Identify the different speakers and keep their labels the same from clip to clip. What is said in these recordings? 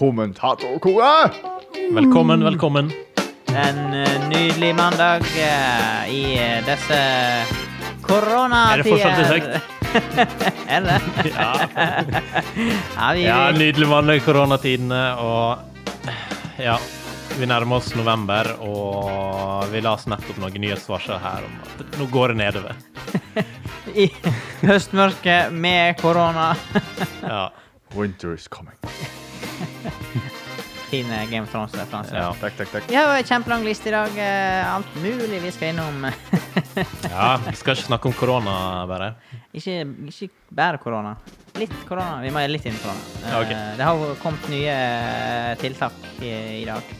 Speaker 1: kommentatorkoret.
Speaker 2: Velkommen, velkommen.
Speaker 3: En eh, nydelig mandag eh, i eh, disse
Speaker 2: Er det fortsatt litt
Speaker 3: koronatider.
Speaker 2: høyt?
Speaker 3: Er det?
Speaker 2: Ja,
Speaker 3: Ja, vi,
Speaker 2: ja nydelig mann i koronatidene, og ja. Vi nærmer oss november, og vi las nettopp noen nyhetsvarsler her om at nå går det nedover.
Speaker 3: I høstmørket med korona.
Speaker 2: Ja,
Speaker 1: Winter is coming.
Speaker 3: Fin eh, Game of Thrones-referanse.
Speaker 2: ja.
Speaker 1: Takk, takk, takk.
Speaker 3: Vi har en kjempelang liste i dag. eh, Alt mulig vi skal innom.
Speaker 2: ja vi skal ikke snakke om korona, bare.
Speaker 3: Ikke, ikke bare korona. Litt korona. Vi må litt inn på korona. Eh,
Speaker 2: Ja, ok.
Speaker 3: Det har jo kommet nye eh, tiltak i, i dag.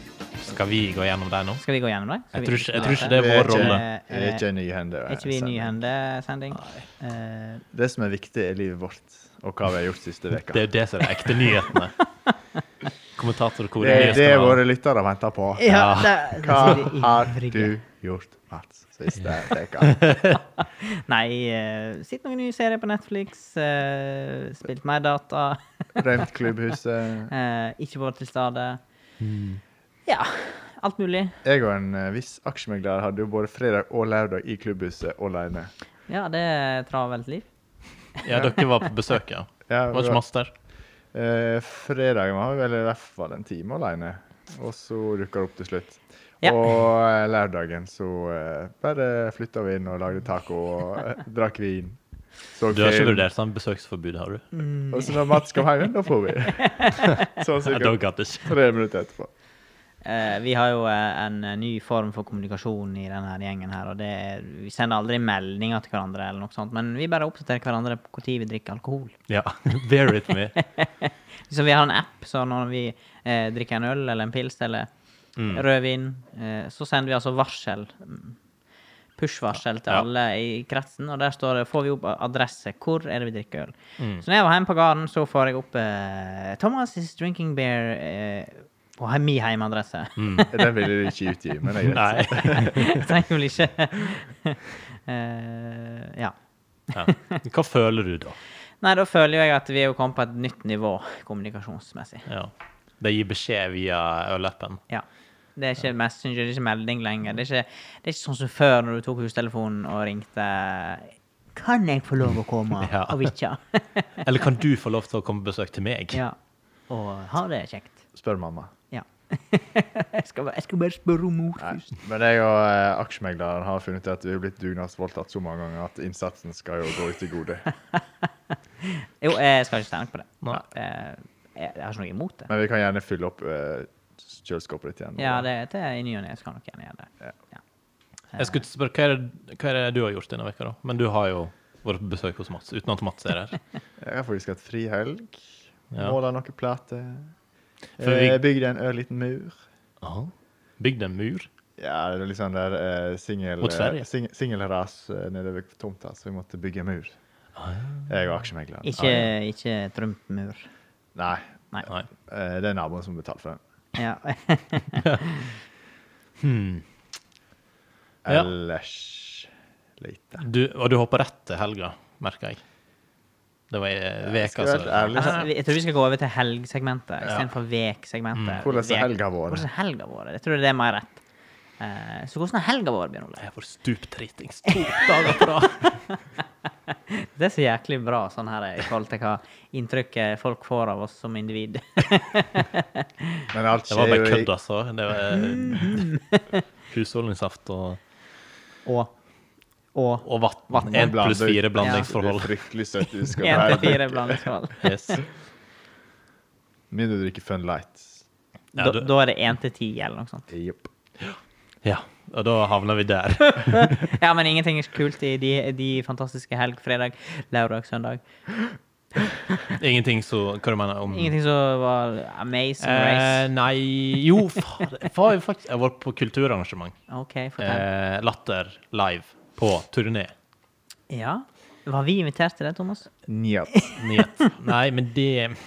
Speaker 2: Skal vi gå gjennom det nå?
Speaker 3: Skal vi gå gjennom det? Skal
Speaker 2: Jeg
Speaker 3: vi-
Speaker 2: tror ikke- jeg tror ikke det er vår
Speaker 1: ikke-
Speaker 2: rolle.
Speaker 1: Det er ikke en nyhende.
Speaker 3: Er ikke vi i nyhendesending? Eh,
Speaker 1: Det som er viktig, er livet vårt og hva vi har gjort siste veka.
Speaker 2: Det er jo det som er de ekte nyhetene.
Speaker 1: Det
Speaker 2: Kommentatorkoret.
Speaker 1: er det våre lyttere venter på.
Speaker 3: ja,
Speaker 2: Ja.
Speaker 1: Hva
Speaker 3: det, det sier de
Speaker 1: har
Speaker 3: ivrige.
Speaker 1: du gjort, Mats, siste veka?
Speaker 3: Nei, uh, sitt noen nye serier på Netflix. eh, spilt mer data.
Speaker 1: Rømt klubbhuset.
Speaker 3: eh, ikke vært til stede.
Speaker 1: Hmm.
Speaker 3: Ja. Alt mulig.
Speaker 1: Jeg og en eh, viss aksjemegler hadde jo både fredag og lørdag i klubbhuset alene.
Speaker 3: Ja, det er travelt liv.
Speaker 2: Ja, dere var på besøk, ja.
Speaker 1: Ja,
Speaker 2: Det var ikke masse der.
Speaker 1: Eh, fredagen var vi vel i hvert fall en time alene, og så dukka det opp til slutt.
Speaker 3: Ja.
Speaker 1: Og eh, lørdagen så eh, bare flytta vi inn og lagde taco og eh, drakk vin. Så
Speaker 2: Du har ikke
Speaker 1: film.
Speaker 2: vurdert sånn besøksforbud, har du?
Speaker 1: Og så når Mats kom hjem, da får vi. Sånn
Speaker 2: Ja, da
Speaker 1: sikkert
Speaker 2: gadd ikke.
Speaker 1: tre minutter etterpå.
Speaker 3: Eh, vi har jo eh, en eh, ny form for kommunikasjon i denne her gjengen her, og det er, vi sender aldri meldinger til hverandre eller noe sånt, men vi bare oppdaterer hverandre på hvor tid vi drikker alkohol.
Speaker 2: Ja, bear with me.
Speaker 3: Så vi har en app, så når vi eh, drikker en øl eller en pils eller rødvin, eh, så sender vi altså varsel, mm, push-varsel til
Speaker 2: Ja.
Speaker 3: alle i kretsen, og der står det, får vi opp adresse, hvor er det vi drikker øl? Så når jeg var hjemme på garden, så får jeg opp eh, Thomas is drinking beer eh, på he- min hjemmeadresse.
Speaker 1: Eh, Den ville de ikke utgi, men det er greit.
Speaker 2: Mm. Nei.
Speaker 3: Jeg trenger vel ikke Eh, Ja.
Speaker 2: Ja. Hva føler du da?
Speaker 3: Nei, da føler jo jeg at vi er jo kommet på et nytt nivå kommunikasjonsmessig.
Speaker 2: Ja. De gir beskjed via ølappen.
Speaker 3: Ja. Det er ikke Messenger, det er ikke melding lenger. Det er ikke, det er ikke sånn som før, når du tok hustelefonen og ringte Kan jeg få lov å komme
Speaker 2: Ja.
Speaker 3: og vitja?
Speaker 2: Eller kan du få lov til å komme på besøk til meg?
Speaker 3: ja. Og ha det kjekt.
Speaker 1: Spør mamma.
Speaker 3: Ja. jeg, skal, bare- jeg skal bare spørre om mor
Speaker 1: Nei.
Speaker 3: først.
Speaker 1: Men jeg og eh, aksjemegleren har funnet ut at vi er blitt dugnadsvoldtatt så mange ganger at innsatsen skal jo gå ut i gode.
Speaker 3: Jo, jeg skal ikke stemme på det.
Speaker 2: Nei.
Speaker 3: Eh, Jeg, jeg har ikke noe imot det.
Speaker 1: Men vi kan gjerne fylle opp eh, kjøleskapet ditt igjen.
Speaker 3: Ja, det, det er i ny og ne, så kan nok gjerne gjøre det. Ja.
Speaker 2: Jeg skulle spørre, hva er, det, hva er det du har gjort denne veka da? Men du har jo vært på besøk hos Mats, uten at Mats er her.
Speaker 1: Jeg har faktisk hatt fri helg.
Speaker 2: Ja.
Speaker 1: Måla noen plater.
Speaker 2: For vi-
Speaker 1: Eh, Bygde en ørliten mur.
Speaker 2: Aha. Bygd en mur?
Speaker 1: Ja, det er litt sånn der eh, singel-
Speaker 2: Mot Sverige.
Speaker 1: sing, singelras eh, nede ved tomta, så vi måtte bygge en mur.
Speaker 2: Ah,
Speaker 1: Jeg og aksjemegleren.
Speaker 3: Eh, Ikke, ikke Trump-mur.
Speaker 1: Nei,
Speaker 3: Nei.
Speaker 2: Nei.
Speaker 1: eh, det er naboen som betaler for den.
Speaker 3: Ja.
Speaker 2: Hmm. Ja.
Speaker 1: Ellers lite.
Speaker 2: Du, og du hopper rett til helga, merker jeg. Det var i veka.
Speaker 1: skal være
Speaker 2: så-
Speaker 1: ærlig,
Speaker 3: Altså, vi- jeg tror vi skal gå over til helgsegmentet
Speaker 2: Ja.
Speaker 3: istedenfor veksegmentet.
Speaker 2: Mm.
Speaker 1: Hvordan
Speaker 3: Vek-
Speaker 1: har helga vært?
Speaker 3: Hvordan har helga vært? Jeg tror det er mer rett. Eh, så hvordan har helga vært, Bjørn Ole?
Speaker 2: Jeg får stuptritings to dager på rad.
Speaker 3: Det er så jæklig bra sånn her i forhold til hva inntrykket folk får av oss som individ.
Speaker 1: Men alt
Speaker 2: Det var
Speaker 1: skjer
Speaker 2: bare
Speaker 1: jo i
Speaker 2: kødd, altså. Det var eh, husholdningssaft og,
Speaker 3: Og og
Speaker 2: og vann.
Speaker 3: Vatten.
Speaker 2: Én pluss
Speaker 1: Blander-
Speaker 2: fire
Speaker 1: Det
Speaker 2: blandingsforhold.
Speaker 1: er Fryktelig søtt. Du skal
Speaker 3: én til
Speaker 1: være
Speaker 3: fire blandingsforhold.
Speaker 2: Yes.
Speaker 1: Mindre du drikker Fun Light.
Speaker 2: Ja,
Speaker 3: Da,
Speaker 2: du-
Speaker 3: da er det én til ti, eller noe sånt.
Speaker 1: Jepp.
Speaker 2: Ja, og da havner vi der.
Speaker 3: Ja, men ingenting er kult i de, de fantastiske helg, fredag, lørdag, søndag.
Speaker 2: Ingenting så Hva du mener om
Speaker 3: Ingenting som var amazing
Speaker 2: Eh,
Speaker 3: race.
Speaker 2: nei Jo, faen. Jeg var jo faktisk- jeg var på kulturarrangement.
Speaker 3: OK, fortell.
Speaker 2: Eh, latter live på turné.
Speaker 3: Ja. Var vi invitert til det, Thomas?
Speaker 1: Nja.
Speaker 2: Nyhet. Nei, men det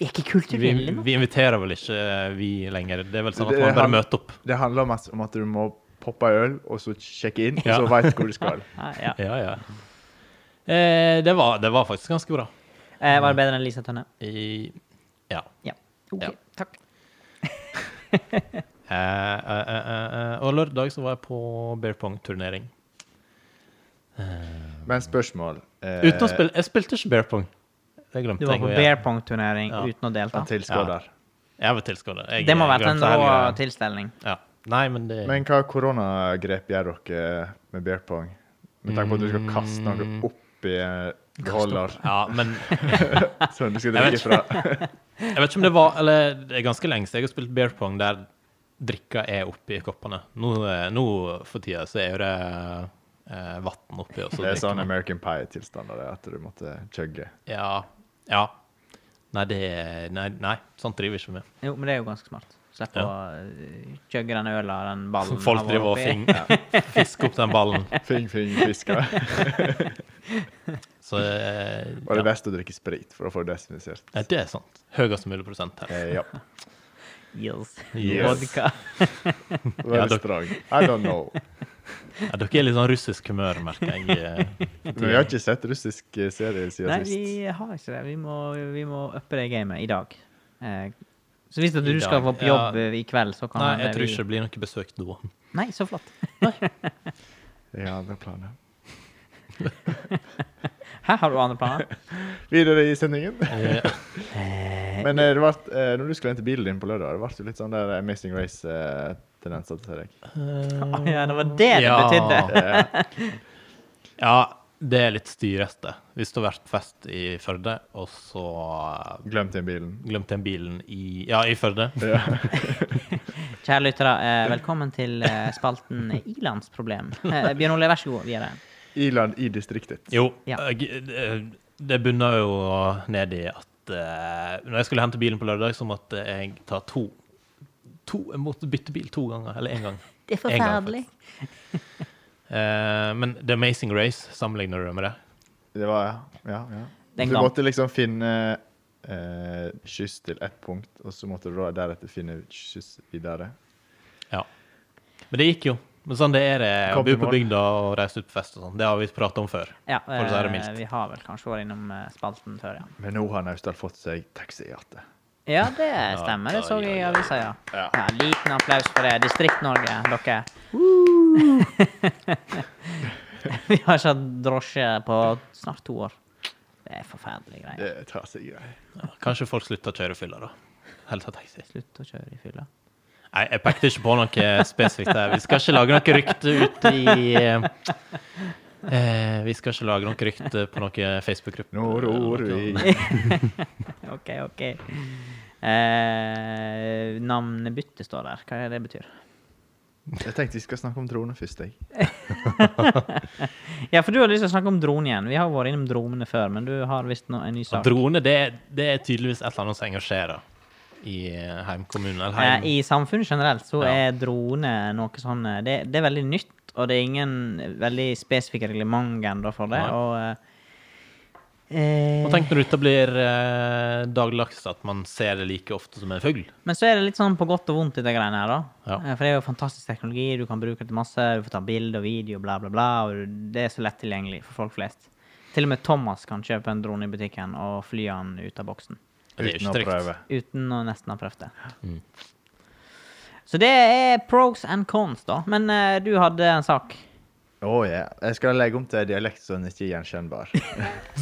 Speaker 3: Vi er ikke
Speaker 2: vi,
Speaker 3: kulturelle nå.
Speaker 2: vi inviterer vel ikke eh, vi lenger. Det er vel sånn
Speaker 1: Det-
Speaker 2: at man bare
Speaker 1: han-
Speaker 2: møter opp.
Speaker 1: Det handler om at, om at du må poppe ei øl, og så sjekke inn, og
Speaker 2: Ja.
Speaker 1: så veit hvor du skal.
Speaker 3: Ah, ja.
Speaker 2: Ja, ja. Eh, det, var, det var faktisk ganske bra.
Speaker 3: Eh, var det bedre enn Lisa Tønne?
Speaker 2: I, ja.
Speaker 3: Ja. Ok.
Speaker 2: Ja. Eh, eh, eh, eh, og lørdag så var jeg på beer pong-turnering.
Speaker 1: Men spørsmål eh,
Speaker 2: Uten å spille Jeg spilte ikke beer pong. Det glemte
Speaker 3: Du var
Speaker 2: jeg.
Speaker 3: på
Speaker 2: å gjøre.
Speaker 3: bear pong-turnering
Speaker 2: Ja.
Speaker 3: uten å delta.
Speaker 1: en tilskuer.
Speaker 2: Jeg var tilskuer. Jeg-
Speaker 3: Det må
Speaker 2: jeg
Speaker 3: vært en
Speaker 2: glemte hele
Speaker 3: rå
Speaker 2: greia.
Speaker 3: tilstelning.
Speaker 2: Ja. Nei, men det
Speaker 1: Men hva koronagrep gjør dere eh, med beer pong? Med tanke på at du skal kaste noe
Speaker 2: Mm.
Speaker 1: opp i en beholder
Speaker 2: Ja, men
Speaker 1: som du skal drikke
Speaker 2: Jeg vet
Speaker 1: fra.
Speaker 2: jeg vet ikke om det var Eller det er ganske lenge siden jeg har spilt beer pong der drikka er oppi koppene. Nå, eh, nå for tida så er jo det eh, vann oppi, og så
Speaker 1: Det er
Speaker 2: drikker
Speaker 1: sånn
Speaker 2: man.
Speaker 1: American Pie-tilstander, det, at du måtte chugge.
Speaker 2: Ja. ja. Nei, det er- Nei, nei sånt driver vi ikke med.
Speaker 3: Jo, men det er jo ganske smart. Slipp
Speaker 2: Ja.
Speaker 3: å øh, chugge den øla og den ballen.
Speaker 2: Folk
Speaker 3: av
Speaker 2: driver og
Speaker 3: oppi.
Speaker 2: fing, fisker opp den ballen.
Speaker 1: Fing, fing, fiska.
Speaker 2: Så eh,
Speaker 1: Og det er
Speaker 2: ja.
Speaker 1: best å drikke sprit, for da får du desinfisert.
Speaker 2: Ja, det er sant. Høyest mulig prosent her.
Speaker 1: Eh, ja.
Speaker 3: Yes.
Speaker 1: Yes.
Speaker 3: Vodka.
Speaker 2: Ja,
Speaker 1: Veldig
Speaker 2: dere-
Speaker 1: strong. I don't know.
Speaker 2: Ja, dere er litt sånn russisk humør, merker jeg. eh.
Speaker 1: Men vi har ikke sett russisk eh, serie
Speaker 3: Nei,
Speaker 1: siden
Speaker 3: vi
Speaker 1: sist.
Speaker 3: har ikke det. Vi må, vi må uppe det gamet i dag. Eh, Så hvis at
Speaker 2: I
Speaker 3: du
Speaker 2: dag,
Speaker 3: skal få på
Speaker 2: ja.
Speaker 3: jobb eh, i kveld, så kan
Speaker 2: Nei,
Speaker 3: hende
Speaker 2: jeg tror
Speaker 3: vi-
Speaker 2: ikke det blir noe besøk da.
Speaker 3: Nei, så flott.
Speaker 1: Jeg har andre planer.
Speaker 3: Her har du andre planer.
Speaker 1: Videre i sendingen.
Speaker 2: Eh,
Speaker 1: Men eh, det vart, eh, når du skulle hente bilen din på lørdag, det ble jo litt sånn der Amazing Race-tendenser eh, til deg.
Speaker 3: Å Ja, det var Eh, det det
Speaker 2: Ja.
Speaker 3: betydde.
Speaker 1: Eh,
Speaker 2: Ja, det er litt styrete. Hvis det har vært fest i Førde, og så eh,
Speaker 1: Glemt igjen bilen.
Speaker 2: glemte en bilen i Ja, i Førde.
Speaker 1: Ja.
Speaker 3: Kjære lyttere, eh, velkommen til eh, spalten Ilandsproblem. Eh, Bjørn Ole, vær så god. Videre.
Speaker 1: Iland i distriktet.
Speaker 2: Jo,
Speaker 3: Ja.
Speaker 2: jeg, det- det bunner jo ned i at eh, når jeg skulle hente bilen på lørdag, så måtte jeg ta to To, jeg måtte bytte bil to ganger, eller én gang.
Speaker 3: Det er
Speaker 2: En gang,
Speaker 3: forferdelig.
Speaker 2: Eh, men The Amazing Race, sammenligner du det med det?
Speaker 1: Det var, ja, ja.
Speaker 3: Den
Speaker 1: du
Speaker 3: gang.
Speaker 1: måtte liksom finne eh, kyss til ett punkt, og så måtte du da deretter finne kyss videre.
Speaker 2: Ja. Men det gikk jo. Men sånn det er det å
Speaker 1: Kom
Speaker 2: bo
Speaker 1: til
Speaker 2: på
Speaker 1: mål.
Speaker 2: bygda og reise ut på fest og sånn. Det har vi pratet om før.
Speaker 3: Ja,
Speaker 2: For å si det
Speaker 3: eh,
Speaker 2: mildt.
Speaker 3: vi har vel kanskje vært innom eh, spalten før, ja.
Speaker 1: Men nå har Naustdal fått seg taxi i hjertet.
Speaker 3: Ja, det stemmer. Det så jeg i
Speaker 2: ja, ja.
Speaker 3: avisa, ja.
Speaker 1: Ja.
Speaker 3: ja. Liten applaus for det. Distrikt-Norge, dere. vi har ikke hatt drosje på snart to år. Det er forferdelige greier.
Speaker 1: Det tar seg greit.
Speaker 2: Ja, kanskje folk slutter å kjøre fylla, da. Helt av taxi.
Speaker 3: Slutt å kjøre i fylla.
Speaker 2: Nei, jeg pekte ikke på noe spesifikt der. Vi skal ikke lage noe rykte ut i eh, Vi skal ikke lage noe rykte på noen Facebook-gruppe.
Speaker 1: Nå ror vi.
Speaker 2: sånn.
Speaker 3: OK, OK. Eh, navnebytte står der. Hva er det det betyr?
Speaker 1: Jeg tenkte vi skal snakke om drone først, jeg.
Speaker 3: Ja, for du har lyst til å snakke om drone igjen. Vi har jo vært innom dronene før, men du har visst nå en ny sak.
Speaker 2: Drone, det, det er tydeligvis et eller annet som engasjerer i heimkommunen. Eller
Speaker 3: Eh,
Speaker 2: heim.
Speaker 3: I samfunnet generelt så
Speaker 2: Ja.
Speaker 3: er drone noe sånn eh, det, det er veldig nytt, og det er ingen veldig spesifikke reglement ennå for det.
Speaker 2: Nei.
Speaker 3: Og eh, eh,
Speaker 2: Og tenk når dette blir eh, dagligdags, at man ser det like ofte som en fugl.
Speaker 3: Men så er det litt sånn på godt og vondt, dette greiene her, da.
Speaker 2: Ja.
Speaker 3: Eh, For det er jo fantastisk teknologi, du kan bruke det til masse, du får ta bilde og video, bla, bla, bla. Og det er så lett tilgjengelig for folk flest. Til og med Thomas kan kjøpe en drone i butikken og fly han ut av boksen.
Speaker 2: Det er
Speaker 1: Uten
Speaker 2: jo ikke
Speaker 1: å
Speaker 2: trygt.
Speaker 1: prøve.
Speaker 3: Uten å nesten ha prøvd det.
Speaker 2: Mm.
Speaker 3: Så det er pros and cons, da. Men eh, du hadde en sak.
Speaker 1: Å ja. Jeg skal legge om til dialekt så den ikke er gjenkjennbar.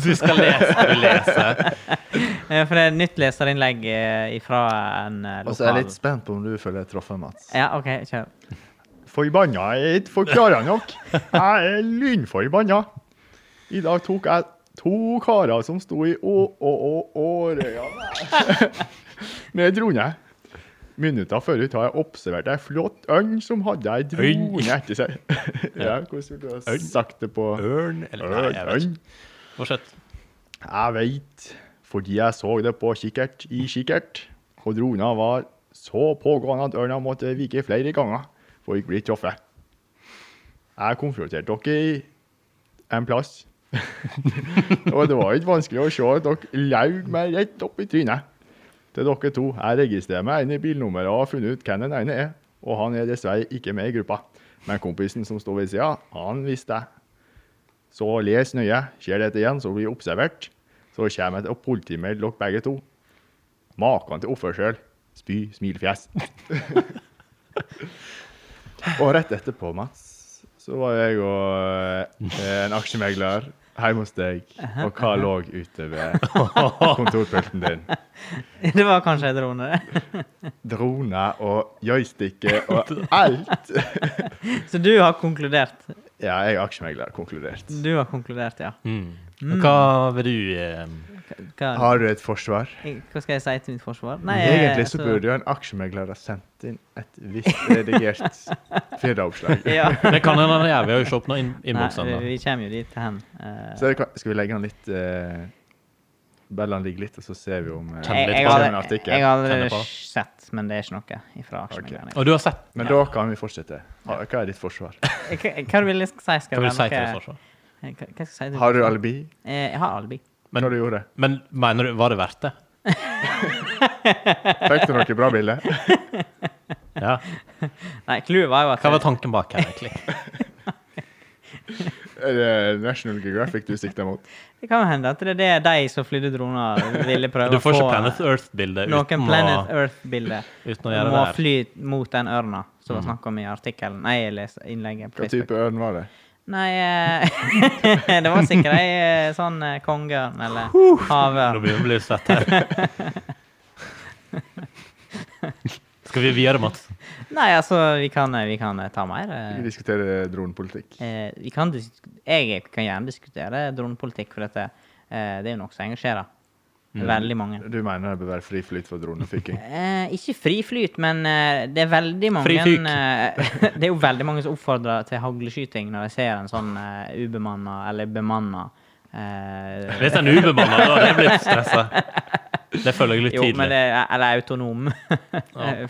Speaker 2: Du skal lese, du leser.
Speaker 3: Eh, For det er et nytt leserinnlegg eh, fra en eh,
Speaker 1: Og så er
Speaker 3: lokal
Speaker 1: jeg litt spent på om du føler jeg traff, Mats.
Speaker 3: Ja, OK, kjør.
Speaker 1: Forbanna er ikke forklara nok. Jeg er lynforbanna. I dag tok jeg to karer som sto i å-å-å-Årøya med drone. Minutter før ut har jeg observert ei flott ørn som hadde ei drone etter seg. Ja, hvordan ville du ha sagt det på
Speaker 2: Ørn eller Nei,
Speaker 1: Ørn,
Speaker 2: jeg vet
Speaker 1: ørn.
Speaker 2: ikke. Fortsett.
Speaker 1: Jeg veit, fordi jeg så det på kikkert i kikkert. Og drona var så pågående at ørna måtte vike flere ganger for ikke å bli truffet. Jeg konfronterte dere i en plass. og det var ikke vanskelig å se at dere laug meg rett opp i trynet. Til dere to. Jeg registrerer meg inn i bilnummeret og har funnet ut hvem den ene er. Og han er dessverre ikke med i gruppa. Men kompisen som sto ved sida, han visste det. Så les nøye. Skjer dette igjen, så blir jeg observert. Så kommer jeg til å politimeldte dere begge to. Maken til oppførsel. Spy, smilefjes. og rett etterpå, Mats, så var jeg og eh, en aksjemegler hjemme hos deg. Og hva lå ute ved kontorpulten din?
Speaker 3: Det var kanskje en drone.
Speaker 1: Droner og joysticker og alt.
Speaker 3: Så du har konkludert.
Speaker 1: Ja, jeg er aksjemegler, konkludert.
Speaker 3: Du har konkludert, ja.
Speaker 2: Mm. Og hva vil du eh,
Speaker 3: Hva,
Speaker 1: Har du et forsvar?
Speaker 3: hva skal jeg si til mitt forsvar? eh,
Speaker 1: Egentlig så burde jo en aksjemegler ha sendt inn et visst redigert firdaoppslag.
Speaker 3: altså, ja.
Speaker 2: Det kan hende han gjør. Vi har jo ikke åpna
Speaker 3: Nei,
Speaker 2: innboksen.
Speaker 3: vi,
Speaker 2: da.
Speaker 3: vi kommer jo dit hen. Eh,
Speaker 1: Så er det klart- skal vi legge den litt eh, Bellene ligger litt, og så ser vi om eh,
Speaker 2: Kjenn
Speaker 3: jeg,
Speaker 2: litt
Speaker 3: jeg,
Speaker 2: på
Speaker 3: har-
Speaker 1: en artikkel.
Speaker 3: jeg har
Speaker 2: Kjenn det
Speaker 3: allerede
Speaker 2: på.
Speaker 3: sett, men det er ikke noe ifra aksjemeglerne.
Speaker 2: Og du har sett
Speaker 1: Men
Speaker 2: ja.
Speaker 1: da kan vi fortsette. Ha- Hva er ditt forsvar?
Speaker 3: Eh, Hva hva du vil jeg skal si? Skal
Speaker 2: Hva vil
Speaker 3: det
Speaker 2: du si
Speaker 3: være
Speaker 2: til det?
Speaker 3: noe- eh,
Speaker 2: Sasha?
Speaker 3: Hva- Hva skal jeg si til
Speaker 1: Har du alibi?
Speaker 3: Eh, Jeg har alibi.
Speaker 1: Hva du gjorde
Speaker 2: Men mener du, var det verdt det?
Speaker 1: Fikk du noe bra bilde?
Speaker 2: Ja.
Speaker 3: Nei, clouet var jo at
Speaker 2: Hva var tanken bak her, egentlig?
Speaker 1: Er det National Geographic du sikter mot?
Speaker 3: Det kan jo hende at det er det de som flydde droner, ville prøve
Speaker 2: Du får ikke
Speaker 3: å
Speaker 2: Planet
Speaker 3: få eh,
Speaker 2: Earth-bilde uten,
Speaker 3: noen Planet Earth-bilder.
Speaker 2: å- uten å
Speaker 3: Du
Speaker 2: gjøre
Speaker 3: må
Speaker 2: det Mm. her.
Speaker 3: fly mot den ørna som var snakk om i artikkelen. Nei, jeg leste innlegget på
Speaker 1: Hva
Speaker 3: Facebook.
Speaker 1: type ørn var det?
Speaker 3: Nei, eh, det var sikkert ei eh, sånn eh, kongeørn eller
Speaker 2: Nå
Speaker 3: havørn.
Speaker 2: begynner vi å bli svett her. Skal vi videre, Mats?
Speaker 3: Nei, altså, vi kan, eh, vi kan eh, ta mer. eh.
Speaker 1: Vi diskuterer dronepolitikk.
Speaker 3: Eh, vi kan dis- jeg kan gjerne diskutere dronepolitikk, for dette, eh, det er jo noe som engasjerer
Speaker 2: Mm.
Speaker 3: veldig mange.
Speaker 1: Du mener det bør være fri flyt for dronefykking?
Speaker 3: Eh, ikke fri flyt, men eh, det er veldig mange
Speaker 2: Fri fyk.
Speaker 3: eh, Det er jo veldig mange som oppfordrer til hagleskyting når de ser en sånn uh, ubemanna eller bemanna eh,
Speaker 2: Hvis en er ubemannet, da hadde jeg blitt stressa. Det føler jeg litt
Speaker 3: Jo, men
Speaker 2: tidlig.
Speaker 3: det er, eller autonom eh,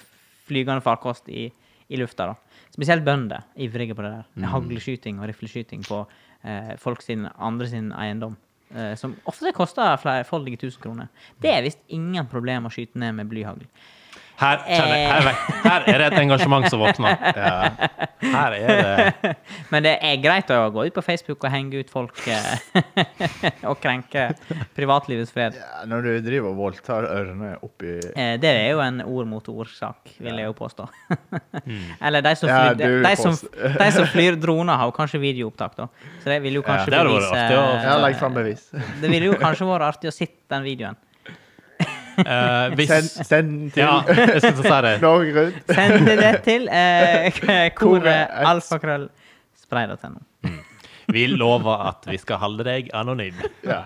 Speaker 3: flygende farkost i, i lufta, da. Spesielt bønder. Ivrige på det der.
Speaker 2: Mm.
Speaker 3: Hagleskyting og rifleskyting på eh, folk sin, andre sin eiendom. eh, som ofte koster flerfoldige tusen kroner. Det er visst ingen problem å skyte ned med blyhagl.
Speaker 2: Her, kjenner jeg, her, vet- her er det et engasjement som våkner. Her er det
Speaker 3: Men det er greit å gå ut på Facebook og henge ut folk eh, og krenke privatlivets fred.
Speaker 1: Ja, når du driver og voldtar ørner oppi
Speaker 3: Eh, Det er jo en ord mot ord-sak, vil jeg jo påstå.
Speaker 2: Mm.
Speaker 3: Eller de som
Speaker 1: Ja,
Speaker 3: flyr,
Speaker 1: du
Speaker 3: de som,
Speaker 1: påstår.
Speaker 3: de som flyr droner, har jo kanskje videoopptak, da. Så det vil jo
Speaker 2: Ja,
Speaker 3: kanskje
Speaker 2: det hadde vært
Speaker 3: bevise
Speaker 2: artig å-
Speaker 1: Ja, legg fram bevis.
Speaker 3: Det ville jo kanskje vært artig å sitte den videoen.
Speaker 2: eh,
Speaker 1: Send,
Speaker 2: Hvis
Speaker 1: send til
Speaker 2: Ja, jeg skulle til å si det.
Speaker 1: Norge Rundt.
Speaker 3: Send det til eh,
Speaker 1: Koret,
Speaker 3: koret alfakrøllspray.no.
Speaker 2: Vi lover at vi skal holde deg anonym.
Speaker 1: Ja.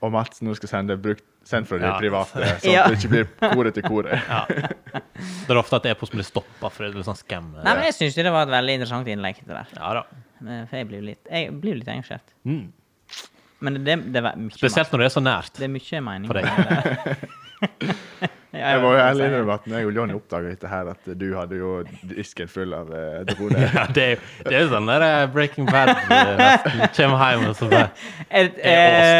Speaker 1: Og Mats nå skal sende brukt Send fra det
Speaker 2: Ja.
Speaker 1: private, sånn
Speaker 3: Ja.
Speaker 1: at det ikke blir koret til koret.
Speaker 2: Ja. Det er ofte at det er på som blir stoppa for det er litt sånn skam.
Speaker 3: Nei, men jeg syns det var et veldig interessant innlegg. det der.
Speaker 2: Ja da.
Speaker 3: Eh, For jeg blir jo litt, jeg blir jo litt engasjert.
Speaker 2: Mm.
Speaker 3: Men det, det var mye
Speaker 2: Spesielt når det er så nært.
Speaker 3: Det er mye mening
Speaker 2: For deg.
Speaker 3: med det. Ja,
Speaker 1: Jeg må jo ærlig
Speaker 3: si det.
Speaker 1: innrømme at når jeg og Johnny oppdaga dette her, at du hadde jo disken full av eh, droner.
Speaker 2: Ja, det er jo det er jo sånn der eh, Breaking Bad eh, nesten. Kommer hjem og så bare
Speaker 3: Et,
Speaker 2: er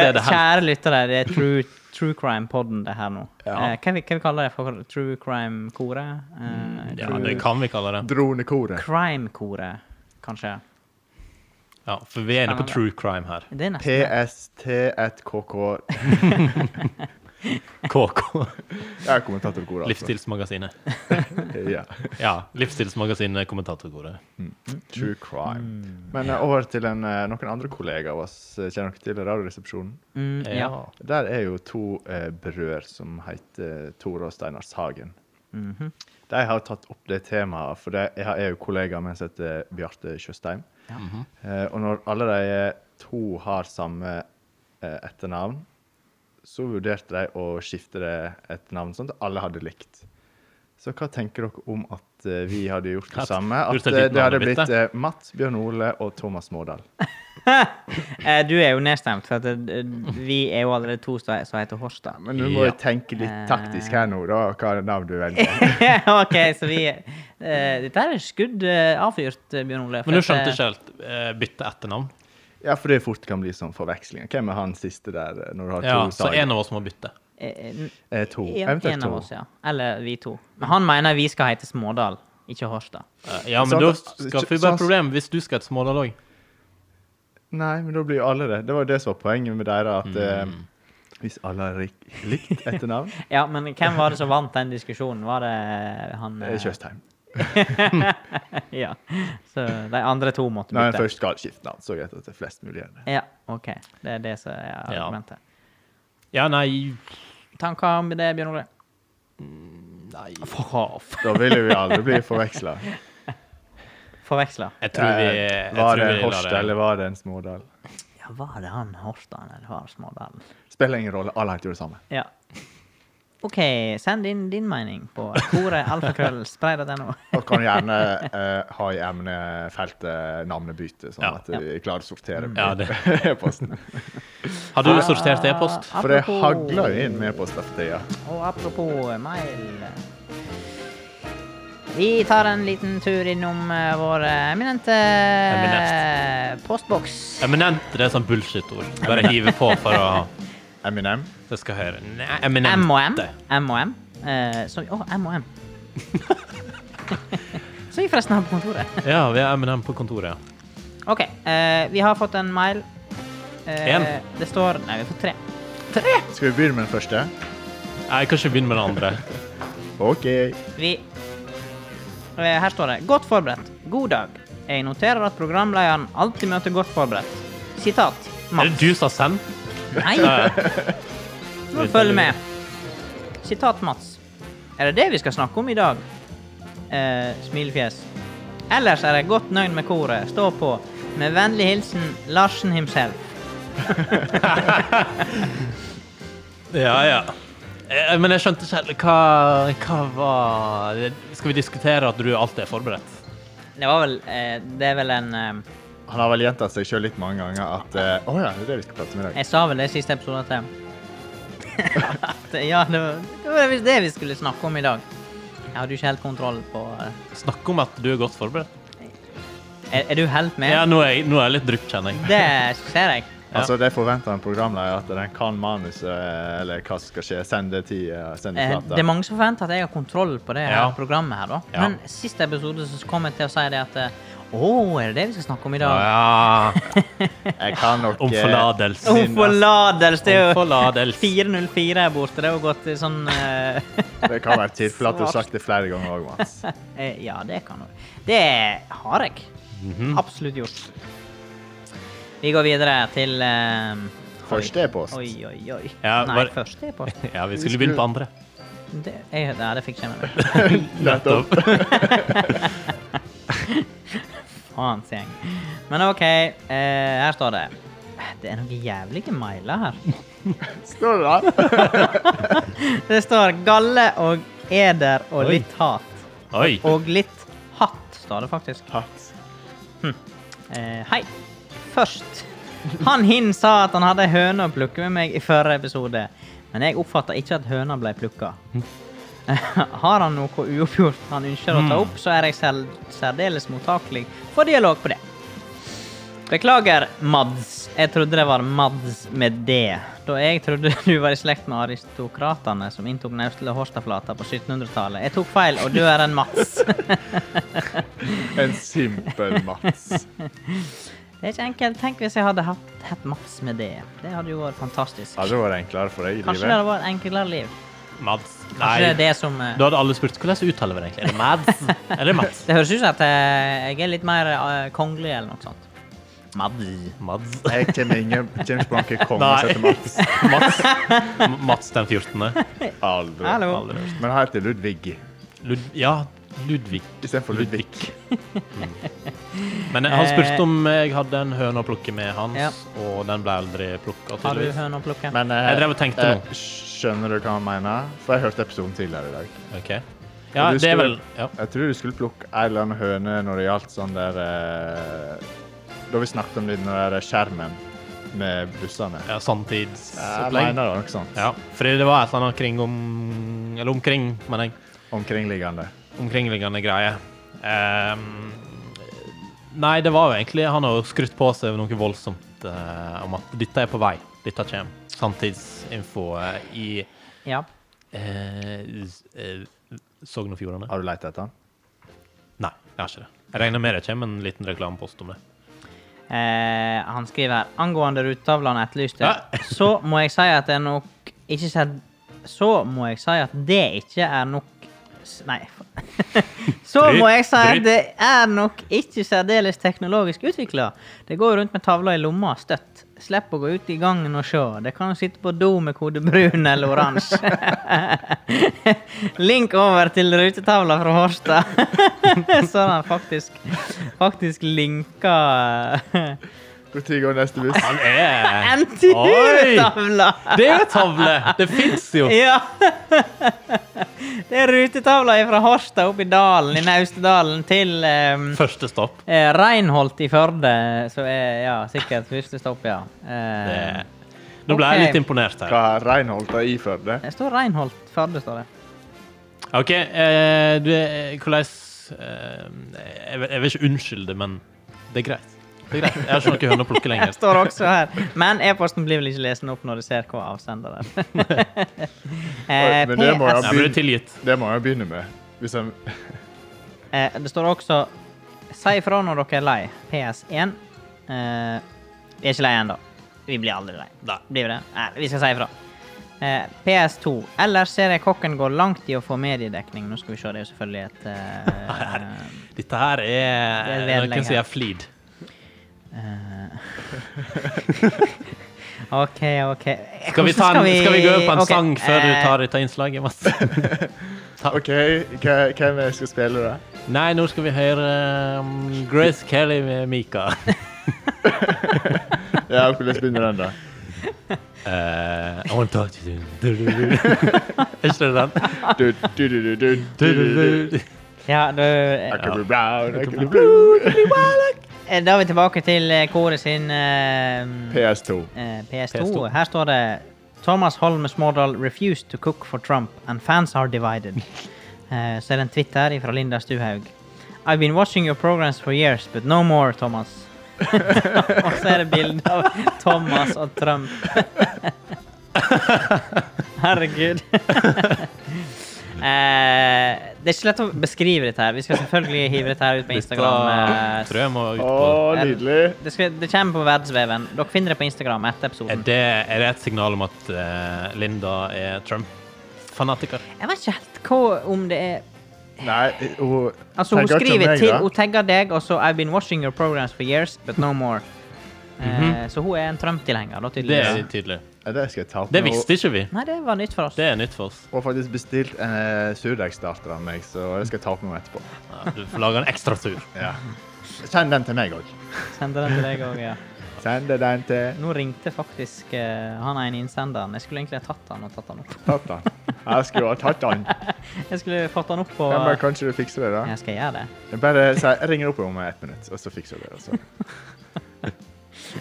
Speaker 3: eh,
Speaker 2: det helt-
Speaker 3: kjære lyttere, det er True, true Crime-podden det her nå.
Speaker 1: Ja.
Speaker 3: Eh, hva, vi, hva vi kaller det? For true Crime-koret? Eh,
Speaker 2: Mm, Ja, det kan vi kalle det.
Speaker 1: Dronekoret.
Speaker 3: Crime-koret, kanskje?
Speaker 2: Ja, for vi er inne på true crime her.
Speaker 3: Det er nesten
Speaker 1: PST1KK.
Speaker 2: KK.
Speaker 1: Jeg er kommentatorkoret. Altså.
Speaker 2: Livsstilsmagasinet.
Speaker 1: Ja.
Speaker 2: Ja. Livsstilsmagasinet kommentatorkoret.
Speaker 1: True crime. Men eh, over til en, eh, noen andre kollegaer av oss. Eh, Kjenner dere til Radioresepsjonen?
Speaker 3: mm, ja.
Speaker 2: Ja.
Speaker 1: Der er jo to eh, brødre som heter Tore og Steinar Sagen.
Speaker 2: Mhm.
Speaker 1: De har tatt opp det temaet, for det, jeg har- jeg er jo kollega med en som heter Bjarte Tjøstheim. eh, og når alle de eh, to har samme eh, etternavn, så vurderte de å skifte det et navn sånn at alle hadde likt. Så hva tenker dere om at eh, vi hadde gjort det
Speaker 2: At-
Speaker 1: samme? At
Speaker 2: gjort et
Speaker 1: eh,
Speaker 2: nytt
Speaker 1: det hadde
Speaker 2: navnebytte?
Speaker 1: blitt eh, Mats, Bjørn Ole og Thomas Mårdal.
Speaker 3: Eh, du er jo nedstemt, for at, eh, vi er jo allerede to som som heter Horstad.
Speaker 1: Men du må
Speaker 2: Ja. Eh.
Speaker 1: jo tenke litt taktisk her nå, da, hva navn du velger.
Speaker 3: OK, så vi eh, Dette her er skudd eh, avfyrt, eh, Bjørn Ole. for
Speaker 2: Men du
Speaker 3: at, eh,
Speaker 2: skjønte ikke helt eh, bytte etternavn?
Speaker 1: Ja, for det fort kan bli sånn forvekslinger. Hvem er han siste der, eh, når du har to
Speaker 2: Ja, så
Speaker 1: sager?
Speaker 2: en av oss må bytte.
Speaker 3: eh, n-
Speaker 1: Eh, to.
Speaker 3: En,
Speaker 1: Eventuelt
Speaker 3: en
Speaker 1: to.
Speaker 3: av oss, ja. Eller vi to. Men han mener vi skal hete Smådal, ikke Horstad.
Speaker 2: Eh, Ja, men
Speaker 1: Sånn-
Speaker 2: da skaffer vi bare
Speaker 1: sånn-
Speaker 2: et problem hvis du skal et smådal òg. Mm.
Speaker 1: Nei, men da blir jo alle det. Det var jo det som var poenget med dere, at eh, Hvis alle har rik- likt etternavn,
Speaker 3: Ja, men hvem var det som vant den diskusjonen? Var det han eh,
Speaker 1: er det Tjøstheim.
Speaker 3: Ja. Så de andre to måtte
Speaker 1: Når en
Speaker 3: bytte.
Speaker 1: først skal skifte navn, så er det greit at det er flest mulig. gjerne.
Speaker 3: Ja, OK. Det er det som er
Speaker 2: Ja.
Speaker 3: argumentet.
Speaker 2: Ja, nei
Speaker 3: Tanker om det, Bjørn Ole?
Speaker 2: Nei.
Speaker 3: Fuck off.
Speaker 1: Da ville vi aldri bli forveksla.
Speaker 3: Forveksla.
Speaker 2: Jeg tror
Speaker 1: Eh,
Speaker 2: vi jeg
Speaker 1: Var
Speaker 2: tror
Speaker 1: det
Speaker 2: vi
Speaker 1: en
Speaker 2: lar
Speaker 1: Horst eller var det en Smådal?
Speaker 3: Ja, var det han Horstad eller var det Smådalen?
Speaker 1: Spiller ingen rolle, alle har gjort det samme.
Speaker 3: Ja. OK, send inn din mening på koretalfakrøllspray.no.
Speaker 1: Og kan gjerne eh, ha i emnefeltet navnebytte, sånn
Speaker 2: Ja. Mm.
Speaker 1: at vi klarer å sortere på
Speaker 2: Ja, det-
Speaker 1: e-posten.
Speaker 2: Har du sortert e-post?
Speaker 1: For det
Speaker 3: Apropos-
Speaker 1: hagler jo inn med e-poster for tida.
Speaker 3: Og apropos eh, mail Vi tar en liten tur innom eh, vår eminente eh,
Speaker 2: Eminent.
Speaker 3: postboks.
Speaker 2: Eminent det er sånn bullshit-ord. Bare hive på for å
Speaker 1: Eminem.
Speaker 2: Det skal høre. Nei, eminente.
Speaker 3: M og M. M og M. Eh, som- Å, M og M. Som vi forresten har på kontoret.
Speaker 2: Ja, vi er M&M på kontoret.
Speaker 3: OK. eh, vi har fått en mail. Eh,
Speaker 2: En.
Speaker 3: Det står Nei, vi har fått tre.
Speaker 1: Skal vi begynne med den første?
Speaker 2: Nei, kanskje begynn med den andre.
Speaker 1: OK.
Speaker 3: Vi Eh, Her står det 'Godt forberedt. God dag'. Jeg noterer at programlederen alltid møter godt forberedt. Sitat.
Speaker 2: Er
Speaker 3: Mats.
Speaker 2: det du som har sendt?
Speaker 3: Nei! Nå følg med. Sitat Mats. Er det det vi skal snakke om i dag? Eh, smilefjes. Ellers er jeg godt nøyd med koret. Stå på. Med vennlig hilsen Larsen himself.
Speaker 2: Ja, ja. Eh, Men jeg skjønte ikke helt hva, hva var Skal vi diskutere at du alltid er forberedt?
Speaker 3: Det var vel eh, Det er vel en eh,
Speaker 1: Han har vel gjentatt seg sjøl litt mange ganger at eh, Å ja, det er det vi skal prate om i dag.
Speaker 3: Jeg sa vel det i siste episode at at, Ja, det var, det var visst det vi skulle snakke om i dag. Jeg hadde jo ikke helt kontroll på eh,
Speaker 2: Snakke om at du er godt forberedt.
Speaker 3: Er, er du helt med?
Speaker 2: Ja, nå er jeg, nå er jeg litt drupp, kjenner jeg.
Speaker 3: Det ser jeg.
Speaker 2: Ja.
Speaker 1: Altså, Det forventer en programleder at den kan manuset, eh, eller hva som skal skje. Send det til eh, send det
Speaker 3: Eh,
Speaker 1: plata.
Speaker 3: Det er mange som forventer at jeg har kontroll på det her
Speaker 2: Mm, Ja.
Speaker 3: programmet her, da.
Speaker 2: Ja.
Speaker 3: Men siste episode så kom jeg til å si det at eh, Å, er det det vi skal snakke om i dag?
Speaker 2: Ja.
Speaker 1: Jeg kan nok
Speaker 2: Om
Speaker 1: eh,
Speaker 2: forlatelse.
Speaker 3: Om forlatelse! Det er
Speaker 2: Om
Speaker 3: jo
Speaker 2: forlatelse.
Speaker 3: 404 her borte. Det har jo gått i sånn eh,
Speaker 1: Det kan være tilfelle at du har
Speaker 3: Svart.
Speaker 1: sagt det flere ganger òg, Mats.
Speaker 3: eh, Ja, det kan du. Det har jeg.
Speaker 2: Mhm.
Speaker 3: Absolutt gjort. Vi går videre til eh, oi.
Speaker 1: Første e-post.
Speaker 3: Oi, oi, oi.
Speaker 2: Ja,
Speaker 3: Nei,
Speaker 2: bare-
Speaker 3: første e-post.
Speaker 2: Ja, vi skulle begynne på andre.
Speaker 3: Det, jeg, ja, det fikk jeg med meg.
Speaker 1: Nettopp.
Speaker 3: Faens gjeng. Men OK, eh, her står det Det er noen jævlige mailer her.
Speaker 1: Står det der?
Speaker 3: Det står 'galle og eder og
Speaker 2: Oi.
Speaker 3: litt hat'.
Speaker 2: Oi.
Speaker 3: Og litt hatt, står det faktisk.
Speaker 1: Hatt.
Speaker 3: Eh, hei. Først. Han Hin sa at han hadde ei høne å plukke med meg i forrige episode, men jeg oppfatta ikke at høna ble plukka. Har han noe uoppgjort han ønsker å ta opp, så er jeg sel- særdeles mottakelig for dialog på det. Beklager, Mads. Jeg trodde det var Mads med D. Da jeg trodde du var i slekt med aristokratene som inntok Naustdal og Horstaflata på 1700-tallet. Jeg tok feil, og du er en Mats.
Speaker 1: En simpel Mats.
Speaker 3: Det er ikke enkelt. Tenk hvis jeg hadde hatt, hatt Mats med det. Det hadde jo vært fantastisk.
Speaker 1: Hadde det vært enklere for deg i
Speaker 3: Kanskje det
Speaker 1: livet?
Speaker 3: hadde vært et enklere liv.
Speaker 2: Mads.
Speaker 3: Kanskje det er
Speaker 2: Nei.
Speaker 3: det som eh,
Speaker 2: Da hadde alle spurt hvordan uttaler vi det egentlig. Er det Mads? Er det Mads?
Speaker 3: Det høres ut som at eh, jeg er litt mer eh, kongelig eller noe sånt. Mads.
Speaker 2: Mads.
Speaker 1: Jeg kommer ingen James Blanke konge
Speaker 2: Nei.
Speaker 1: etter Mats.
Speaker 2: Mats. M- Mats den 14.
Speaker 1: Aldri.
Speaker 3: Hallo.
Speaker 2: Aldri hørt.
Speaker 1: Men han heter Ludvig
Speaker 2: Lud ja, Ludvig.
Speaker 1: istedenfor Ludvig.
Speaker 2: Men han spurte om jeg hadde en høne å plukke med hans,
Speaker 3: Eh. Ja.
Speaker 2: og den ble aldri plukka,
Speaker 3: Har du
Speaker 2: tydeligvis.
Speaker 3: høne å plukke?
Speaker 1: Men eh,
Speaker 2: Jeg drev og tenkte
Speaker 1: eh,
Speaker 2: nå.
Speaker 1: Skjønner du hva han mener? For jeg hørte episoden tidligere i dag.
Speaker 2: Ok. Ja,
Speaker 1: Og du
Speaker 2: det er vel
Speaker 1: skulle-
Speaker 2: ja.
Speaker 1: Jeg tror du skulle plukke ei eller annen høne når det gjaldt sånn der eh, Da vi snakket om den der skjermen med bussene.
Speaker 2: ja,
Speaker 1: Jeg
Speaker 2: sanntidsopplegg.
Speaker 1: mener det var noe sånt.
Speaker 2: Ja, fordi det var et eller annet kring om Eller omkring, mener jeg.
Speaker 1: Omkringliggende.
Speaker 2: omkringliggende greie. Ehm, nei, det var jo egentlig Han har jo skrytt på seg noe voldsomt eh, om at dette er på vei. Dette kommer. Sanntidsinfo eh, i
Speaker 3: Ja.
Speaker 2: eh, s- eh, Sogn og Fjordane.
Speaker 1: Har du lett etter den?
Speaker 2: Nei, jeg har ikke det. Jeg regner med det kommer en liten reklamepost om det.
Speaker 3: Eh, han skriver her angående rutetavlene etterlyste,
Speaker 2: Ja.
Speaker 3: så må jeg si at det er nok ikke sett Så må jeg si at det ikke er nok s- Nei. så må jeg si at det er nok ikke særdeles teknologisk utvikla. Det går rundt med tavla i lomma støtt. Slipp å gå ut i gangen og se. Det kan sitte på do med kode brun eller oransje. Link over til rutetavla fra Horstad. Så har han faktisk, faktisk eh, linka
Speaker 1: Når går neste buss?
Speaker 2: Han er
Speaker 3: NTU-tavla!
Speaker 2: Det er jo en tavle! Det fins jo!
Speaker 3: Ja. Det er rutetavla fra Horstad opp i dalen, i Naustedalen, til um,
Speaker 2: Første stopp.
Speaker 3: Reinholt i Førde, som er ja, sikkert første stopp, ja.
Speaker 2: Det.
Speaker 3: Eh,
Speaker 2: Nå ble jeg
Speaker 3: Ok.
Speaker 2: litt imponert her.
Speaker 1: Hva er Reinholt da i Førde?
Speaker 3: det står Reinholt Førde, står det.
Speaker 2: OK, eh, du er Hvordan eh, jeg, vil- jeg vil ikke unnskylde, men det er greit. Det er greit. Jeg har ikke noen høner å plukke
Speaker 3: Det
Speaker 2: lenger.
Speaker 3: står også her. Men e-posten blir vel ikke lesen opp når du ser hva avsender det er. Eh,
Speaker 1: Oi, men det må jeg
Speaker 2: Nei, men du er tilgitt.
Speaker 1: Det må jeg begynne med. Hvis jeg,
Speaker 3: Eh, det står også Si ifra når dere er lei. PS1. Eh, vi er ikke lei ennå. Vi blir aldri lei.
Speaker 2: Nei.
Speaker 3: Blir vi det? Nei, vi skal si ifra. Eh, PS2. Ellers ser jeg kokken går langt i å få mediedekning. Nå skal vi se, det er jo selvfølgelig et eh,
Speaker 2: Dette her er,
Speaker 3: Det er et vedlegg
Speaker 2: noen som
Speaker 3: her.
Speaker 2: er flid.
Speaker 3: eh, OK, OK.
Speaker 2: Skal vi, ta en, skal vi gå på en sang før
Speaker 3: eh,
Speaker 2: du tar dette innslaget, Mats?
Speaker 1: OK, hva, hvem jeg skal spille, da?
Speaker 2: Nei, nå skal vi høre um, Grace Kelly med Mika.
Speaker 1: Ja, hvordan begynner den, da?
Speaker 2: Eh, I wanna talk to you. Er ikke det den?
Speaker 1: Du, du, du, du, du, du, du, du.
Speaker 3: Ja, du,
Speaker 1: I
Speaker 3: eh,
Speaker 1: could be brown, I could be blue.
Speaker 3: da er vi tilbake til eh, koret sin eh,
Speaker 1: PS2.
Speaker 3: Eh, PS2.
Speaker 2: PS2.
Speaker 3: Her står det Thomas Holm Smårdal refused to cook for Trump and fans are divided. Eh, så er det en Twitter fra Linda Stuhaug. I've been watching your programs for years, but no more, Thomas. og så er det bilde av Thomas og Trump. Herregud. Eh, det er ikke lett å beskrive dette her. Vi skal selvfølgelig hive dette her ut på Instagram. eh,
Speaker 2: Dette tror jeg må ut
Speaker 1: Å,
Speaker 2: på.
Speaker 1: nydelig.
Speaker 3: det, skal, det kommer på verdensveven. Dere finner det på Instagram etter
Speaker 2: Er
Speaker 3: episoden.
Speaker 2: det, er det et signal om at eh, Linda er Trump-fanatiker?
Speaker 3: Jeg vet ikke helt hva om det er
Speaker 1: Nei, hun
Speaker 3: Altså, hun
Speaker 1: tenker ikke om
Speaker 3: skriver
Speaker 1: meg,
Speaker 3: til
Speaker 1: da.
Speaker 3: Hun tagger deg, og så I've been watching your programs for years, but no more. Eh, så hun er en Trump-tilhenger, da,
Speaker 2: Det
Speaker 3: tydeligvis.
Speaker 2: er tydelig.
Speaker 1: Ja, Mhm. det skal jeg ta på
Speaker 2: Det
Speaker 1: meg.
Speaker 2: visste ikke vi.
Speaker 3: Nei, det var nytt for oss.
Speaker 2: Det er nytt for oss.
Speaker 1: Hun har faktisk bestilt en eh, surdeigstarter av meg, så det skal jeg ta på meg etterpå.
Speaker 2: Ja, Du får lage en ekstra tur.
Speaker 1: Ja. Send den til meg òg.
Speaker 3: Sender den til deg også, ja.
Speaker 1: Send den til
Speaker 3: Nå ringte faktisk eh, han ene innsenderen. Jeg skulle egentlig ha tatt han og tatt han opp.
Speaker 1: Tata. Jeg skulle ha tatt den.
Speaker 3: Jeg skulle fått han opp på
Speaker 1: Ja, men kanskje du fikser det, da?
Speaker 3: Jeg skal gjøre det.
Speaker 1: Bare si jeg ringer opp om ett minutt, og så fikser du det. og Så.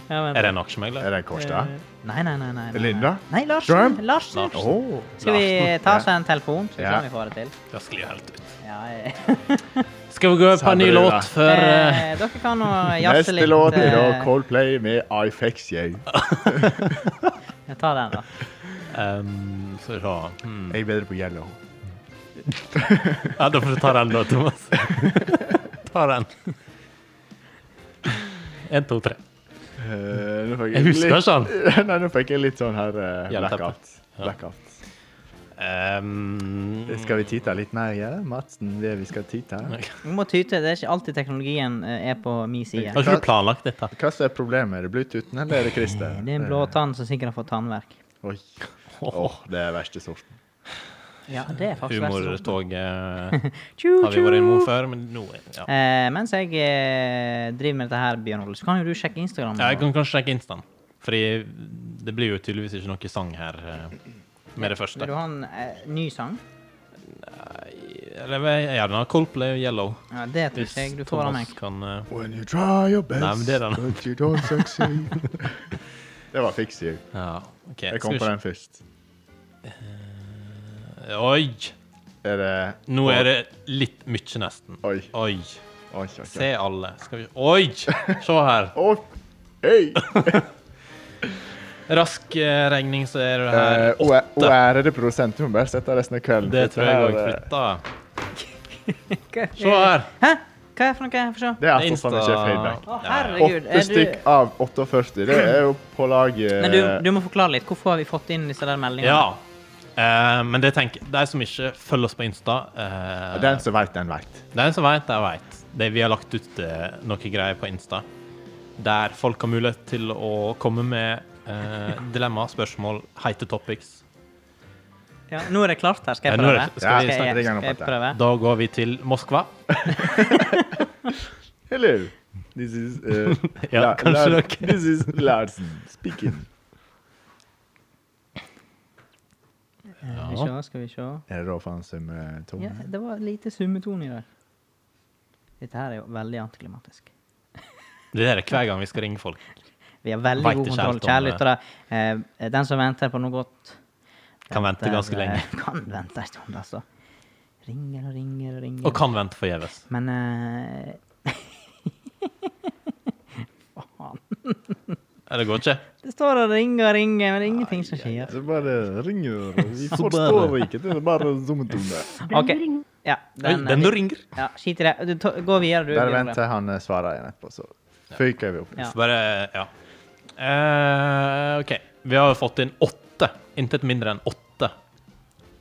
Speaker 3: Ja, men-
Speaker 2: Er det en aksjemegler?
Speaker 1: Er det en kors, da?
Speaker 3: Nei, nei, nei. nei, nei.
Speaker 1: Linda?
Speaker 3: Nei, Larsen.
Speaker 1: Trump?
Speaker 3: Larsen.
Speaker 2: Larsen.
Speaker 1: Åh.
Speaker 3: Skal vi ta oss en telefon, så
Speaker 1: Ja.
Speaker 3: kan vi få det til?
Speaker 2: Det sklir helt ut.
Speaker 3: Ja, eh, jeg...
Speaker 2: Skal vi gå på en ny
Speaker 1: Sabrura.
Speaker 2: låt før eh,
Speaker 3: Eh, dere kan nå jazze litt.
Speaker 1: Neste låt er da
Speaker 3: eh,
Speaker 1: Coldplay med I Fix You.
Speaker 3: jeg tar den, da.
Speaker 2: um, så da, hmm.
Speaker 1: Jeg er bedre på yellow.
Speaker 2: Ja, da får du ta den da, Thomas. ta den. En, to, tre.
Speaker 1: Eh, nå fikk
Speaker 2: Jeg husker
Speaker 1: litt-
Speaker 2: ikke
Speaker 1: Nei, nå fikk jeg litt sånn her eh,
Speaker 2: Jernteppe.
Speaker 1: blackout. blackout.
Speaker 2: Um,
Speaker 1: Skal vi titte litt mer, ja? Madsen, det vi skal titte?
Speaker 3: Vi må tyte. Det er ikke alltid teknologien eh, er på min side.
Speaker 2: Har ikke du planlagt dette?
Speaker 1: Hva som er problemet? Er det Bluetoothen eller er det Christer? Eh,
Speaker 3: Det er en blå tann som sikkert har fått tannverk.
Speaker 1: Oi. Åh, det er verste sorten.
Speaker 3: Ja, det er faktisk verst.
Speaker 2: Humortoget eh,
Speaker 3: Tju,
Speaker 2: har vi vært innom
Speaker 3: tju.
Speaker 2: før, men nå ja.
Speaker 3: Eh, mens jeg eh, driver med dette her, Bjørn Ole, så kan jo du sjekke Instagram.
Speaker 2: Jeg kan kanskje sjekke Instaen, Fordi det blir jo tydeligvis ikke noe sang her eh, med det første.
Speaker 3: Vil du ha en eh, ny sang?
Speaker 2: Eller jeg- gjerne Coldplay og Yellow.
Speaker 3: Ja, det tror
Speaker 2: Hvis
Speaker 3: ikke jeg du får av
Speaker 2: Thomas
Speaker 3: meg.
Speaker 2: kan eh,
Speaker 1: When you try your best,
Speaker 2: Nei, men det er den.
Speaker 1: but you don't succeed. det var Fix You.
Speaker 2: Ja, OK.
Speaker 1: Jeg
Speaker 2: Skal
Speaker 1: kom
Speaker 2: vi
Speaker 1: på
Speaker 2: se.
Speaker 1: den først.
Speaker 2: Oi!
Speaker 1: Er det
Speaker 2: Nå er det litt mye, nesten.
Speaker 1: Oi.
Speaker 2: Oi.
Speaker 1: Oi, oi, oi.
Speaker 2: Se alle. Skal vi Oi! Se her.
Speaker 1: Å, hei!
Speaker 2: Rask eh, regning, så er det her
Speaker 1: Eh, og- og
Speaker 2: åtte.
Speaker 1: ærede produsent, du må bare sette resten av kvelden.
Speaker 2: Det
Speaker 1: for
Speaker 2: tror jeg
Speaker 1: her,
Speaker 2: òg
Speaker 1: eh,
Speaker 2: flytta. Se her.
Speaker 3: Hva er det for noe? Få se.
Speaker 1: Det er
Speaker 2: Det er
Speaker 1: sånn som
Speaker 2: Insta-
Speaker 1: ikke er feedback.
Speaker 3: Å,
Speaker 2: Ja, ja.
Speaker 3: herregud.
Speaker 1: Åtte
Speaker 3: Er du...
Speaker 1: stykk av 48. Det er jo på lag eh,
Speaker 3: Men du, du må forklare litt. Hvorfor har vi fått inn disse der meldingene?
Speaker 2: Ja. Eh, men det tenker de som ikke følger oss på Insta eh,
Speaker 1: Den som veit, den veit.
Speaker 2: Den som vet, der vet. Det, vi har lagt ut eh, noe greier på Insta der folk har mulighet til å komme med eh, dilemma, spørsmål, heite topics.
Speaker 3: Ja, nå er det klart her. Skal jeg
Speaker 2: Ja, nå er
Speaker 3: prøve?
Speaker 2: det- skal
Speaker 1: vi
Speaker 3: jeg-
Speaker 1: snakke litt grann om
Speaker 3: skal jeg
Speaker 1: dette?
Speaker 3: prøve?
Speaker 2: Da går vi til Moskva.
Speaker 1: Hello. This is eh,
Speaker 2: Ja,
Speaker 1: La-
Speaker 2: kanskje
Speaker 1: La-
Speaker 2: dere-
Speaker 1: This is Larsen speaking.
Speaker 3: Skal vi se, skal vi se.
Speaker 1: Er det da faen som eh, Tom?
Speaker 3: Ja, det var lite summetone i dag. Dette her er jo veldig antiklimatisk.
Speaker 2: Det er det hver gang vi skal ringe folk.
Speaker 3: Vi har veldig
Speaker 2: Vet
Speaker 3: god
Speaker 2: ikke
Speaker 3: kontroll,
Speaker 2: helt om
Speaker 3: kjære
Speaker 2: det.
Speaker 3: lyttere. Eh, Den som venter på noe godt
Speaker 2: Kan vente
Speaker 3: venter,
Speaker 2: ganske lenge.
Speaker 3: eh, Kan vente en stund, altså. Ringer og ringer og ringer.
Speaker 2: Og kan vente forgjeves.
Speaker 3: Men eh, Faen.
Speaker 2: Ja, Det går ikke.
Speaker 3: Det står og ringer og ringer, men det er ingenting som skjer.
Speaker 1: Så bare ringer Vi
Speaker 2: Så
Speaker 1: forstår
Speaker 2: bare-
Speaker 1: ikke. Det er bare zoometone.
Speaker 3: OK. Ja,
Speaker 2: Oi,
Speaker 3: den,
Speaker 2: den du ringer.
Speaker 3: ja, skit i det. Du, ta- gå videre, du.
Speaker 1: Der
Speaker 3: Bjørn.
Speaker 1: venter jeg han eh, svarer igjen etterpå, så fyker vi opp.
Speaker 3: Ja.
Speaker 2: Så bare Ja. Eh, OK. Vi har fått inn åtte. Intet mindre enn åtte.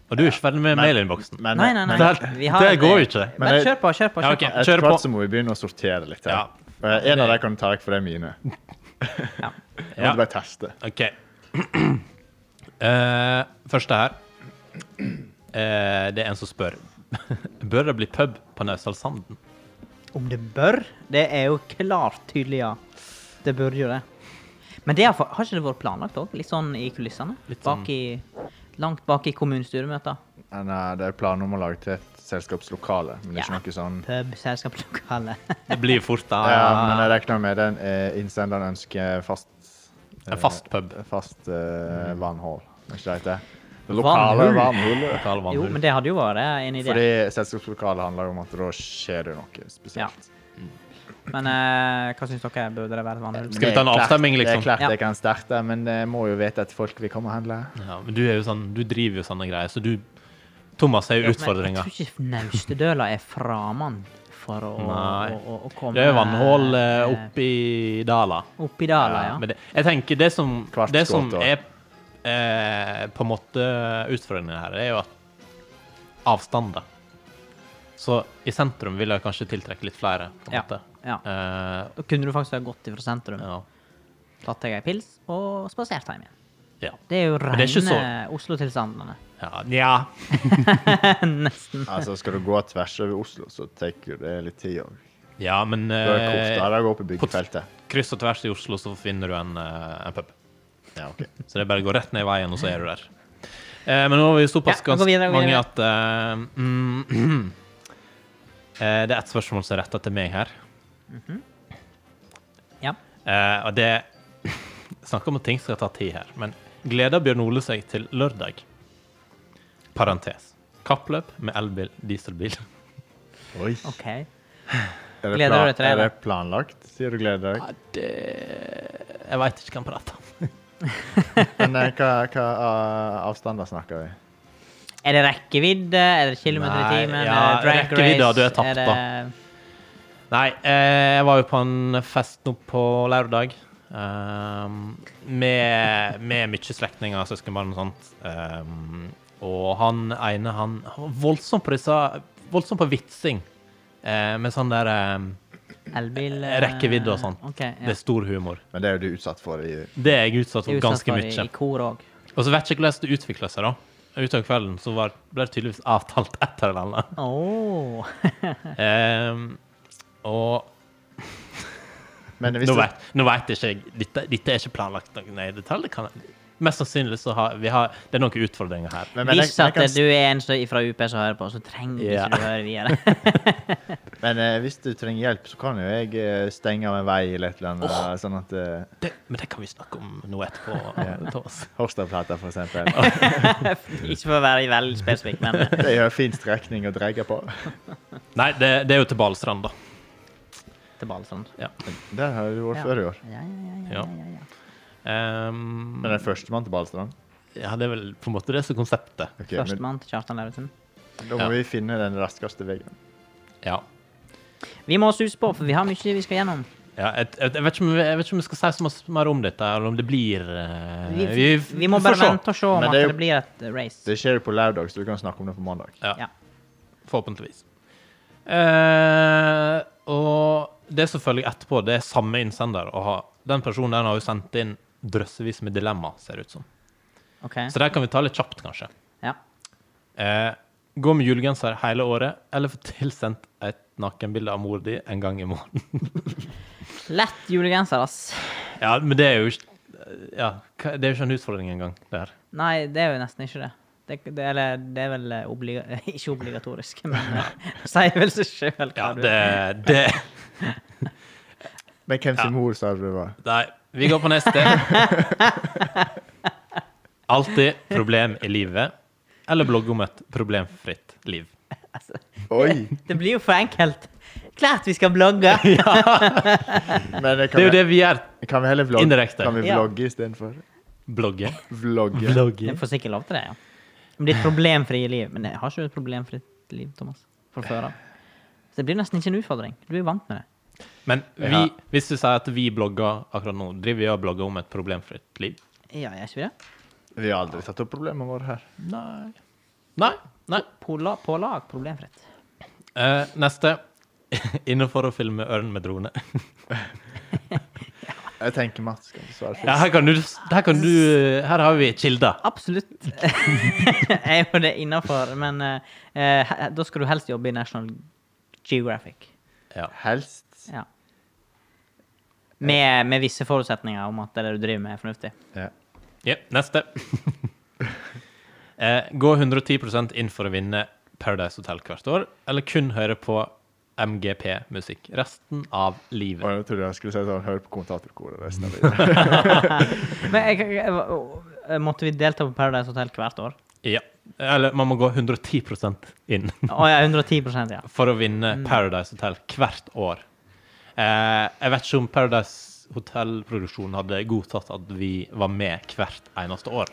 Speaker 2: Og du er ikke ferdig med mailinnboksen.
Speaker 1: Men, eh,
Speaker 3: Nei, nei, nei.
Speaker 2: Det,
Speaker 3: Vi har-
Speaker 2: det går jo ikke.
Speaker 1: Men
Speaker 3: Bare
Speaker 1: jeg-
Speaker 3: kjør på, kjør på.
Speaker 2: Ja,
Speaker 3: Kjør
Speaker 2: ok.
Speaker 3: på.
Speaker 2: Kjør
Speaker 1: Etter
Speaker 2: på.
Speaker 1: hvert så må vi begynne å sortere litt. her. Eh, En av dem kan du ta vekk, for det er mine. Jeg
Speaker 2: Ja.
Speaker 1: måtte bare teste.
Speaker 2: OK. Eh, første her. Eh, det er en som spør. Bør det bli pub på Naustdalssanden?
Speaker 3: Om det bør? Det er jo klart tydelig, ja. Det burde jo det. Men det har, fa- har ikke det vært planlagt òg? Litt sånn i kulissene?
Speaker 2: Litt sånn.
Speaker 3: Bak i, langt bak i kommunestyremøter?
Speaker 1: Men, eh, det er planer om å lage til et selskapslokale, men det er
Speaker 3: Ja.
Speaker 1: ikke noe sånn
Speaker 3: Pub, selskapslokale
Speaker 2: Det blir fort da.
Speaker 1: Ja, men jeg regner med den eh, innsenderen ønsker fast eh,
Speaker 2: En fast pub.
Speaker 1: Fast eh, vannhull. Er ikke det det heter? Det Lokale
Speaker 3: Vannhull.
Speaker 1: vannhullet.
Speaker 2: Lokal
Speaker 3: Jo,
Speaker 2: vandrer.
Speaker 3: men det hadde jo vært en idé.
Speaker 1: Fordi selskapslokalet handler om at da skjer det noe
Speaker 3: Ja.
Speaker 1: spesielt.
Speaker 3: Men eh, hva syns dere? Burde det være et vandrehull?
Speaker 2: Skal vi ta en
Speaker 1: Det er klart-
Speaker 2: avstemning, liksom?
Speaker 1: Det er klart
Speaker 3: Ja.
Speaker 1: jeg kan starte, men jeg må jo vite at folk vil komme og handle.
Speaker 2: Ja, men du er jo sånn, du driver jo sånne greier, så du Thomas er jo
Speaker 3: Men
Speaker 2: utfordringa.
Speaker 3: Jeg tror ikke Naustedøla er framann for å,
Speaker 2: Nei.
Speaker 3: å, å, å komme
Speaker 2: Det er jo vannhull eh, oppi dala.
Speaker 3: Oppi dala, ja.
Speaker 2: Men det, jeg tenker det som,
Speaker 1: Kvartskott,
Speaker 2: det som
Speaker 1: da.
Speaker 2: er eh, på en måte utfordringen her, er jo at avstander. Så i sentrum vil jeg kanskje tiltrekke litt flere, på en
Speaker 3: Ja,
Speaker 2: måte.
Speaker 3: ja.
Speaker 2: Eh,
Speaker 3: Da kunne du faktisk ha gått ifra sentrum,
Speaker 2: ja.
Speaker 3: tatt deg ei pils og spasert hjem igjen.
Speaker 2: Ja.
Speaker 3: Det er jo
Speaker 2: Men det er ikke
Speaker 3: rene Oslo-tilstandene.
Speaker 2: Ja. Nja.
Speaker 3: Nesten.
Speaker 1: Altså, skal du gå tvers over Oslo, så tar jo det litt tid òg.
Speaker 2: ja, men
Speaker 1: Det er
Speaker 2: eh,
Speaker 1: kortere å gå på byggefeltet.
Speaker 2: kryss og tvers i Oslo, så finner du en, eh, en pub.
Speaker 1: Ja, ok.
Speaker 2: Så det er bare å gå rett ned i veien, og så er du der. Eh, men nå har vi såpass
Speaker 3: Ja, gå
Speaker 2: ganske
Speaker 3: videre, gå
Speaker 2: mange
Speaker 3: videre.
Speaker 2: at eh, mm, eh, Det er ett spørsmål som er retta til meg her.
Speaker 3: Ja.
Speaker 2: Eh, og det Snakk om at ting skal ta tid her, men gleder Bjørn Ole seg til lørdag? Parentes. Kappløp med elbil, dieselbil.
Speaker 1: Oi.
Speaker 3: OK.
Speaker 1: Er det,
Speaker 3: Gleder
Speaker 1: plan
Speaker 3: du deg til det,
Speaker 1: er det
Speaker 3: eller?
Speaker 1: planlagt? Sier du gleder deg?
Speaker 2: Jeg veit ikke hva han prater om.
Speaker 1: Men eh, hva, hva eh, avstander snakker vi?
Speaker 3: Er det rekkevidde? Er det kilometer i
Speaker 2: Nei,
Speaker 3: timen?
Speaker 2: ja,
Speaker 3: er det drag
Speaker 2: rekkevidde,
Speaker 3: race?
Speaker 2: du er tapt,
Speaker 3: er det...
Speaker 2: Nei, eh, jeg var jo på en fest nå på lørdag. ehm, med, med mye slektninger, søskenbarn og sånt. Ehm, og han ene, han, han var voldsom på disse Voldsom på vitsing. eh, med sånn der ehm,
Speaker 3: Elbil eh,
Speaker 2: rekkevidde og sånt.
Speaker 3: OK.
Speaker 2: Det
Speaker 3: Ja.
Speaker 2: er stor humor.
Speaker 1: Men det er jo du utsatt for i
Speaker 2: Det er jeg utsatt
Speaker 3: Det
Speaker 2: for
Speaker 3: er utsatt
Speaker 2: ganske mye.
Speaker 3: for I, i kor òg.
Speaker 2: Og så vet jeg ikke hvordan det utvikla seg, da. Utover kvelden så var, ble det tydeligvis avtalt et eller annet.
Speaker 3: Oh.
Speaker 2: Ehm, og
Speaker 1: Men hvis
Speaker 2: Nå
Speaker 1: du-
Speaker 2: vet, nå vet jeg ikke jeg- dette, dette er ikke planlagt noe nei, i detalj. Det kan, mest sannsynlig så har vi har, det er noen utfordringer her.
Speaker 1: men, men, jeg,
Speaker 3: Hvis
Speaker 1: jeg
Speaker 3: at
Speaker 1: kan,
Speaker 3: du er en som fra UP som hører på, så trenger
Speaker 2: Ja.
Speaker 3: ikke du høre videre.
Speaker 1: men eh, hvis du trenger hjelp, så kan jo jeg eh, stenge av en vei eller et eller annet. Sånn at eh,
Speaker 2: Det, men det kan vi snakke om nå etterpå. eh, Thomas.
Speaker 1: Horstadplata, for eksempel.
Speaker 3: ikke for å være veldig spesifikk, men eh,
Speaker 1: Det er jo en fin strekning å dreie på.
Speaker 2: Nei, det, det er jo til Balestrand, da.
Speaker 3: til Balestrand.
Speaker 2: Ja.
Speaker 1: Der har du vært
Speaker 3: Ja.
Speaker 1: før i år.
Speaker 3: Ja, ja, ja, ja,
Speaker 2: Ja.
Speaker 3: ja, ja.
Speaker 2: Ehm,
Speaker 1: Men den førstemann til Balestrand?
Speaker 2: ja, det er vel på en måte det som er konseptet.
Speaker 1: Ok, men
Speaker 3: Førstemann til Kjartan Lauritzen.
Speaker 1: da må
Speaker 2: Ja.
Speaker 1: vi finne den raskeste veien.
Speaker 2: Ja.
Speaker 3: Vi må suse på, for vi har mye vi skal gjennom.
Speaker 2: Ja, jeg, jeg, jeg, vet ikke om, vi- jeg vet ikke om vi skal si så mye mer om dette, eller om det blir eh,
Speaker 3: Vi, vi må
Speaker 2: får
Speaker 3: bare
Speaker 2: se.
Speaker 3: vente og se om
Speaker 1: Men
Speaker 3: at
Speaker 1: det er
Speaker 3: det,
Speaker 1: jo-
Speaker 3: blir et eh, race.
Speaker 1: Det skjer på lørdag, så du kan snakke om det på mandag.
Speaker 2: Ja.
Speaker 3: Ja.
Speaker 2: Forhåpentligvis. Eh, og det som følger etterpå, det er samme innsender. Og har- den personen den har jo sendt inn drøssevis med dilemma, ser det ut som.
Speaker 3: OK.
Speaker 2: Så der kan vi ta litt kjapt, kanskje.
Speaker 3: Ja.
Speaker 2: Eh, gå med julegenser hele året, eller få tilsendt et nakenbilde av mor di en gang i måneden.
Speaker 3: Lett julegenser, ass.
Speaker 2: Ja, men det er jo ikke ja, hva- det er jo ikke en utfordring engang, det her.
Speaker 3: Nei, det er jo nesten ikke det. Det, det, eller, det er vel eh, obliga ikke obligatorisk, men eh, sier vel seg sjøl hva
Speaker 2: Ja,
Speaker 3: du
Speaker 2: det, det
Speaker 1: Men hvem sin
Speaker 2: Ja.
Speaker 1: mor sa du det var?
Speaker 2: Nei, vi går på neste. Alltid problem i livet, eller blogge om et problemfritt liv.
Speaker 3: altså,
Speaker 1: Oi!
Speaker 3: Det blir jo for enkelt. Klart vi skal blogge!
Speaker 1: Men det
Speaker 2: Det
Speaker 1: kan,
Speaker 2: er jo
Speaker 1: vi,
Speaker 2: det vi gjør.
Speaker 1: kan vi heller vlogge?
Speaker 2: Indirekte.
Speaker 1: Kan vi
Speaker 3: Ja.
Speaker 1: vlogge istedenfor?
Speaker 2: Blogge.
Speaker 1: Vlogge.
Speaker 2: Blogge.
Speaker 3: Jeg får sikkert lov til det, ja. Om ditt problemfrie liv. Men jeg har ikke et problemfritt liv, Thomas. Fra før av. Så det blir nesten ikke en utfordring. Du er jo vant med det.
Speaker 2: Men vi,
Speaker 1: Ja.
Speaker 2: hvis du sier at vi blogger akkurat nå, driver vi og blogger om et problemfritt liv?
Speaker 3: Ja, gjør ikke vi det?
Speaker 1: Vi har aldri tatt opp problemene våre her.
Speaker 2: Nei. Nei. Nei.
Speaker 3: På, la, på lag, problemfritt.
Speaker 2: Eh, neste. Inne for å filme ørn med drone.
Speaker 1: Jeg tenker Mats skal svare først.
Speaker 2: Ja, her, kan du, her kan du Her har vi kilder.
Speaker 3: Absolutt. jeg er jo det innafor, men eh, eh, he- da skal du helst jobbe i National Geographic.
Speaker 2: Ja.
Speaker 1: Helst.
Speaker 3: Ja. Med, med visse forutsetninger om at det du driver med, er fornuftig.
Speaker 1: Ja.
Speaker 2: Jep, neste. eh, gå 110 inn for å vinne Paradise Hotel hvert år, eller kun høre på MGP-musikk resten av
Speaker 1: Og
Speaker 2: livet.
Speaker 1: jeg trodde jeg skulle si sånn, hør på kommentatorkoret resten av livet.
Speaker 3: Men jeg, jeg, jeg, måtte vi delta på Paradise Hotel hvert år?
Speaker 2: Ja. Eller man må gå 110 inn
Speaker 3: Å ja, 110 ja.
Speaker 2: for å vinne Paradise Hotel hvert år. Eh, jeg vet ikke om Paradise Hotel-produksjonen hadde godtatt at vi var med hvert eneste år.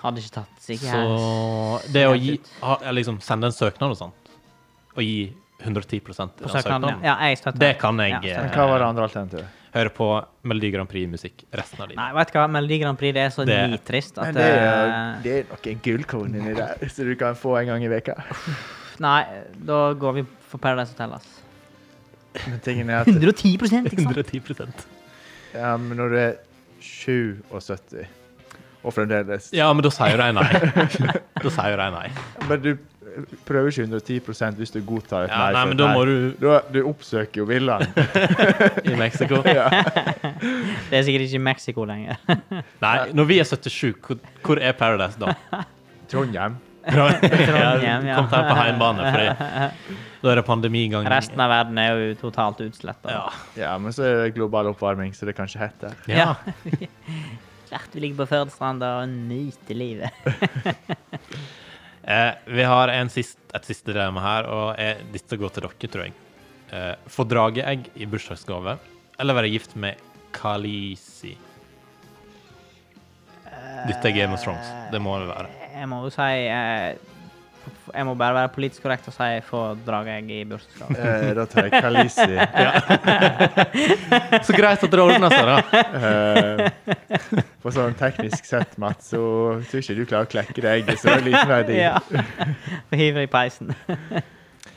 Speaker 3: Hadde ikke tatt seg
Speaker 2: Så det å gi, ha, liksom, sende en søknad og sånt, og gi 110 i den
Speaker 3: på søknaden.
Speaker 2: søknaden
Speaker 3: Ja, jeg støtter
Speaker 2: Det kan jeg,
Speaker 3: støtter.
Speaker 2: eh,
Speaker 1: Men hva var det andre alternativet?
Speaker 2: Høre på Melodi Grand Prix-musikk resten av livet.
Speaker 3: Nei, vet du hva, Melodi Grand Prix det er så
Speaker 2: Det-
Speaker 3: nitrist at
Speaker 1: Men det er,
Speaker 3: eh,
Speaker 1: det er noen gullkorn inni der, så du kan få en gang i veka.
Speaker 3: Nei, da går vi for Paradise Hotel, ass.
Speaker 1: Men tingen er at
Speaker 3: 110 ikke sant?
Speaker 2: 110
Speaker 1: ja, men når du er 77 og fremdeles
Speaker 2: Ja, men da sier jo de nei. Da sier jo de nei.
Speaker 1: Men du prøver ikke 110 hvis du godtar et
Speaker 2: Ja,
Speaker 1: nei.
Speaker 2: nei,
Speaker 1: for
Speaker 2: men
Speaker 1: et
Speaker 2: da må du
Speaker 1: Da- du oppsøker jo villaen.
Speaker 2: i Mexico.
Speaker 3: Det er sikkert ikke Mexico lenger.
Speaker 2: Nei, når vi er 77, hvor, hvor er Paradise da?
Speaker 1: Trondheim.
Speaker 2: Bra.
Speaker 3: Trondheim, ja.
Speaker 2: Kom her på heimbane, for da er det pandemi i gang.
Speaker 3: Resten av verden er jo totalt utsletta.
Speaker 2: Ja.
Speaker 1: Ja, men så er det global oppvarming, så det kan ikke hete.
Speaker 2: ja.
Speaker 3: Klart vi ligger på Førdestranda og nyter livet.
Speaker 2: Eh, vi har en sist, et siste dilemma her, og eh, dette går til dere, tror jeg. Eh, Få drageegg i bursdagsgave, eller være gift med Kalisi? Dette er Game of Thrones. Det må det være.
Speaker 3: Jeg må jo si eh, Jeg må bare være politisk korrekt og si få drageegg i bursdagsgave.
Speaker 1: Eh, da tar jeg Kalisi.
Speaker 2: Så greit at det ordner seg, da.
Speaker 1: Eh, for sånn teknisk sett, Mats, så tror jeg ikke du klarer å klekke det egget, så det er liten verdi.
Speaker 3: Ja. Og hive i peisen.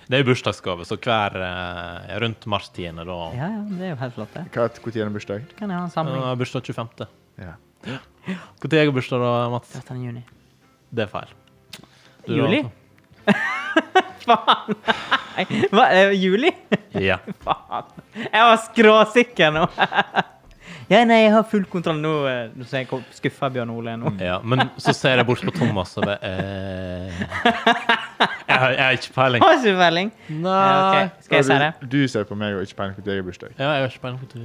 Speaker 2: Det er jo bursdagsgave, så hver eh, rundt mars 10. da
Speaker 3: Ja, ja, det er jo helt flott, det.
Speaker 1: Hva Når er det bursdag?
Speaker 3: Kan jeg ha en
Speaker 2: Han
Speaker 3: samling?
Speaker 2: har bursdag 25.
Speaker 1: Ja.
Speaker 2: Når har jeg bursdag, da, Mats?
Speaker 3: 13. juni.
Speaker 2: Det er feil. Du,
Speaker 3: Juli? Faen! Nei, hva, er det juli?
Speaker 2: Ja.
Speaker 3: Faen. Jeg var skråsikker nå. Ja, nei, jeg har full kontroll nå. eh, Nå ser jeg hvor skuffa Bjørn Ole er nå.
Speaker 2: Ja, men så ser jeg bort på Thomas og det eh... jeg, har, jeg har ikke peiling.
Speaker 3: Har ikke peiling.
Speaker 2: Nei
Speaker 3: Ja, Eh, ok. Skal jeg si det?
Speaker 1: Du, du ser på meg og ikke peiler på din egen bursdag.
Speaker 2: Ja, jeg har ikke peiling på det.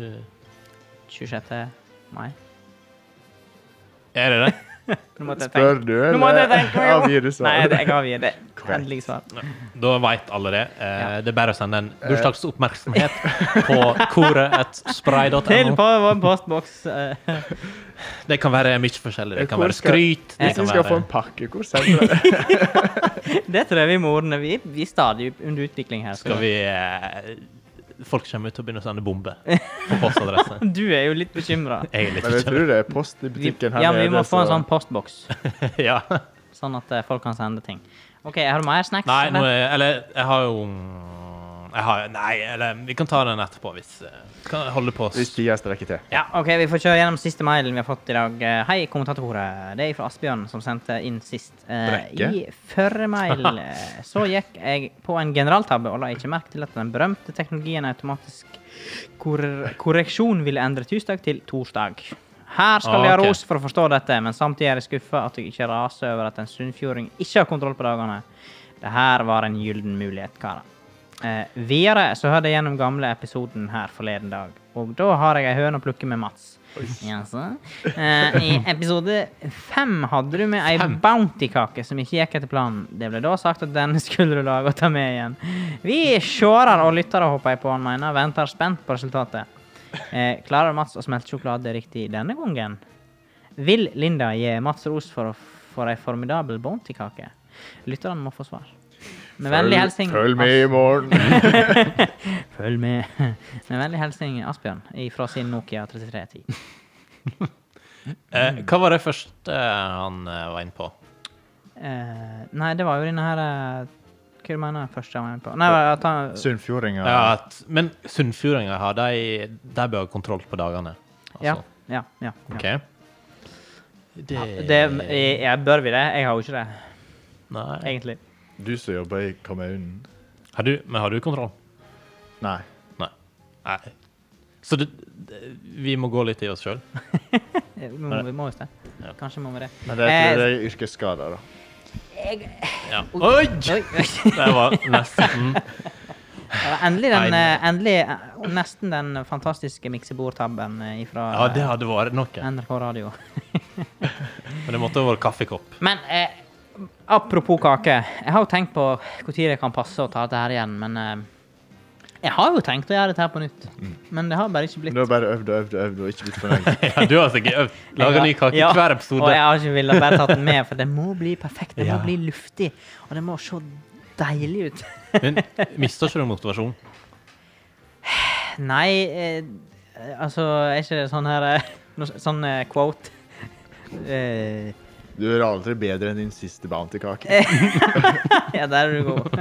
Speaker 3: 26. mai.
Speaker 2: Er det det?
Speaker 3: Nå måtte jeg tenke.
Speaker 1: Spør du,
Speaker 3: Nå måtte jeg tenke meg om.
Speaker 1: avgir du
Speaker 3: Nei,
Speaker 1: svar?
Speaker 3: jeg jeg avgir det.
Speaker 1: Korrekt.
Speaker 3: Endelig svar.
Speaker 2: Da veit alle det. Eh,
Speaker 3: Ja.
Speaker 2: Det er bare å sende en bursdagsoppmerksomhet på koret.spray.no.
Speaker 3: Til på vår postboks. eh,
Speaker 2: Det kan være mye forskjellig. Det kan
Speaker 1: Hvor
Speaker 2: være
Speaker 1: skal-
Speaker 2: skryt. Det
Speaker 1: Hvis du
Speaker 2: kan
Speaker 1: skal få
Speaker 2: være
Speaker 1: en pakke, hvor sender du det?
Speaker 3: Det tror jeg vi må ordne. Vi, vi er stadig under utvikling her. så-
Speaker 2: Skal vi eh, folk kommer ut og begynner å sende bomber på postadresse.
Speaker 3: Du er jo litt bekymra.
Speaker 2: Jeg er litt
Speaker 1: Men jeg
Speaker 2: bekymret.
Speaker 1: tror det er post i butikken her
Speaker 3: Ja, men vi må
Speaker 1: nede,
Speaker 3: få en
Speaker 1: så-
Speaker 3: sånn postboks,
Speaker 2: Ja.
Speaker 3: sånn at eh, folk kan sende ting. OK, har du mer snacks?
Speaker 2: Nei, nå
Speaker 3: eller?
Speaker 2: er, eller jeg har jo mm, jeg har, Nei, eller vi kan ta den etterpå hvis eh, Kan jeg holde på
Speaker 1: Hvis
Speaker 2: s-
Speaker 1: tida strekker til.
Speaker 3: OK, vi får kjøre gjennom siste mailen vi har fått i dag. Eh, Hei, kommentatorbordet. Det er fra Asbjørn, som sendte inn sist. Eh, I
Speaker 1: Brekke.
Speaker 3: forrige mail eh, så gikk jeg på en generaltabbe og la ikke merke til at den berømte teknologien automatisk kor korreksjon ville endre tirsdag til torsdag. Her skal
Speaker 2: Ah,
Speaker 3: jeg ha
Speaker 2: ok.
Speaker 3: ros for å forstå dette, men samtidig er jeg skuffa at jeg ikke raser over at en sunnfjording ikke har kontroll på dagene. Det her var en gyllen mulighet, karer. Eh, videre så hørte jeg gjennom gamle episoden her forleden dag, og da har jeg ei høne å plukke med Mats. Jaså? Eh, I episode fem hadde du med ei
Speaker 2: Fem?
Speaker 3: bounty-kake som ikke gikk etter planen. Det ble da sagt at denne skulle du lage og ta med igjen. Vi sjårar og lyttere, håper jeg på han mener, venter spent på resultatet. Eh, klarer Mats å smelte sjokolade riktig denne gangen? Vil Linda gi Mats ros for, å f- for ei formidabel bounty-kake? Lytterne må få svar. Med vennlig hilsen
Speaker 1: Følg med i morgen.
Speaker 3: As- Følg med. Med vennlig hilsen Asbjørn fra sin Nokia 3310.
Speaker 2: eh, Hva var det første eh, han eh, var inne på?
Speaker 3: Eh, nei, det var jo denne her eh, Hva du mener første jeg var inne på? Nei, at han
Speaker 1: Sunnfjordinga.
Speaker 2: Ja. at, men sunnfjordinger har de, de bør ha kontroll på dagene. Altså.
Speaker 3: Ja. ja, ja, ja.
Speaker 2: OK? Det,
Speaker 3: Det, jeg, jeg bør vi det? Jeg har jo ikke det,
Speaker 2: Nei.
Speaker 3: egentlig.
Speaker 1: Du som jobber i kommunen.
Speaker 2: Har du, men har du kontroll?
Speaker 1: Nei.
Speaker 2: Nei. Nei. Så det, det, vi må gå litt i oss sjøl.
Speaker 3: Eh, Vi må, vi må jo det.
Speaker 2: Ja.
Speaker 3: Kanskje må vi det.
Speaker 1: Men det tror
Speaker 3: Eh,
Speaker 1: jeg er yrkesskader, da.
Speaker 2: Ja. Oi!
Speaker 3: Eh, Oi, oi.
Speaker 2: Det var nesten mm.
Speaker 3: Ja, Endelig den,
Speaker 2: Nei.
Speaker 3: eh, endelig, eh, nesten den fantastiske miksebordtabben eh, fra
Speaker 2: Ja, det hadde vært noe.
Speaker 3: NRK Radio.
Speaker 2: Men det måtte ha vært kaffekopp.
Speaker 3: Men eh, apropos kake. Jeg har jo tenkt på når det kan passe å ta dette her igjen, men eh, Jeg har jo tenkt å gjøre dette her på nytt,
Speaker 2: Mm.
Speaker 3: men det har bare ikke
Speaker 1: Men
Speaker 3: blitt
Speaker 1: Du har bare øvd og øvd og øvd og ikke blitt fornøyd.
Speaker 2: Ja, du har sikkert øvd. Laga ny kake
Speaker 3: Ja,
Speaker 2: hver
Speaker 3: Og
Speaker 2: episode.
Speaker 3: jeg har ikke villet bare tatt den med, for det må bli perfekt. Det må
Speaker 2: Ja.
Speaker 3: bli luftig, og det må se deilig ut.
Speaker 2: Men mister ikke du motivasjon?
Speaker 3: Nei, eh, altså Er ikke det sånn her eh, noe s- Sånn eh, quote eh,
Speaker 1: Du er aldri bedre enn din siste bounty-kake.
Speaker 3: Ja, der er du god.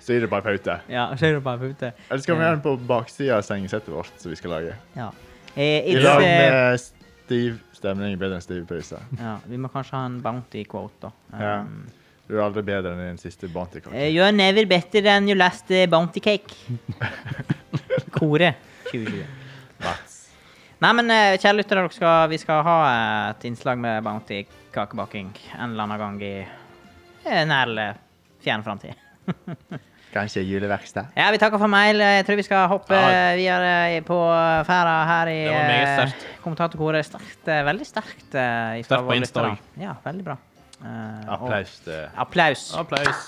Speaker 1: Så gir det bare pause.
Speaker 3: Ja, ser du bare på ute.
Speaker 1: Eller skal vi gjøre den på baksida av sengesettet vårt, som vi skal lage?
Speaker 3: Ja. Eh,
Speaker 1: I
Speaker 3: it's,
Speaker 1: lag
Speaker 3: eh,
Speaker 1: med stiv stemning bedre enn stiv pause.
Speaker 3: ja, vi må kanskje ha en bounty quote, da.
Speaker 1: Ja.
Speaker 3: Um,
Speaker 1: Du er aldri bedre enn din siste
Speaker 3: eh,
Speaker 1: bounty-kake.
Speaker 3: You're never better than your last eh, bounty cake. Koret 2020.
Speaker 1: Mats.
Speaker 3: Nei, men eh, kjære lyttere, dere skal, vi skal ha eh, et innslag med Bounty kakebaking en eller annen gang i eh, nær eller fjern framtid.
Speaker 1: Kanskje juleverksted?
Speaker 3: Ja, vi takker for mail. Eh, Jeg tror vi skal hoppe
Speaker 2: Ja.
Speaker 3: eh, videre på ferda her i
Speaker 2: Det var meget
Speaker 3: eh,
Speaker 2: sterkt.
Speaker 3: kommentatorkoret. Sterkt, eh, veldig sterkt. eh, ifra
Speaker 2: Sterkt på
Speaker 3: våre
Speaker 2: Insta
Speaker 3: lyttere.
Speaker 2: også.
Speaker 3: Ja, veldig bra. Eh, og-
Speaker 1: Applaus til
Speaker 3: Applaus.
Speaker 2: Applaus.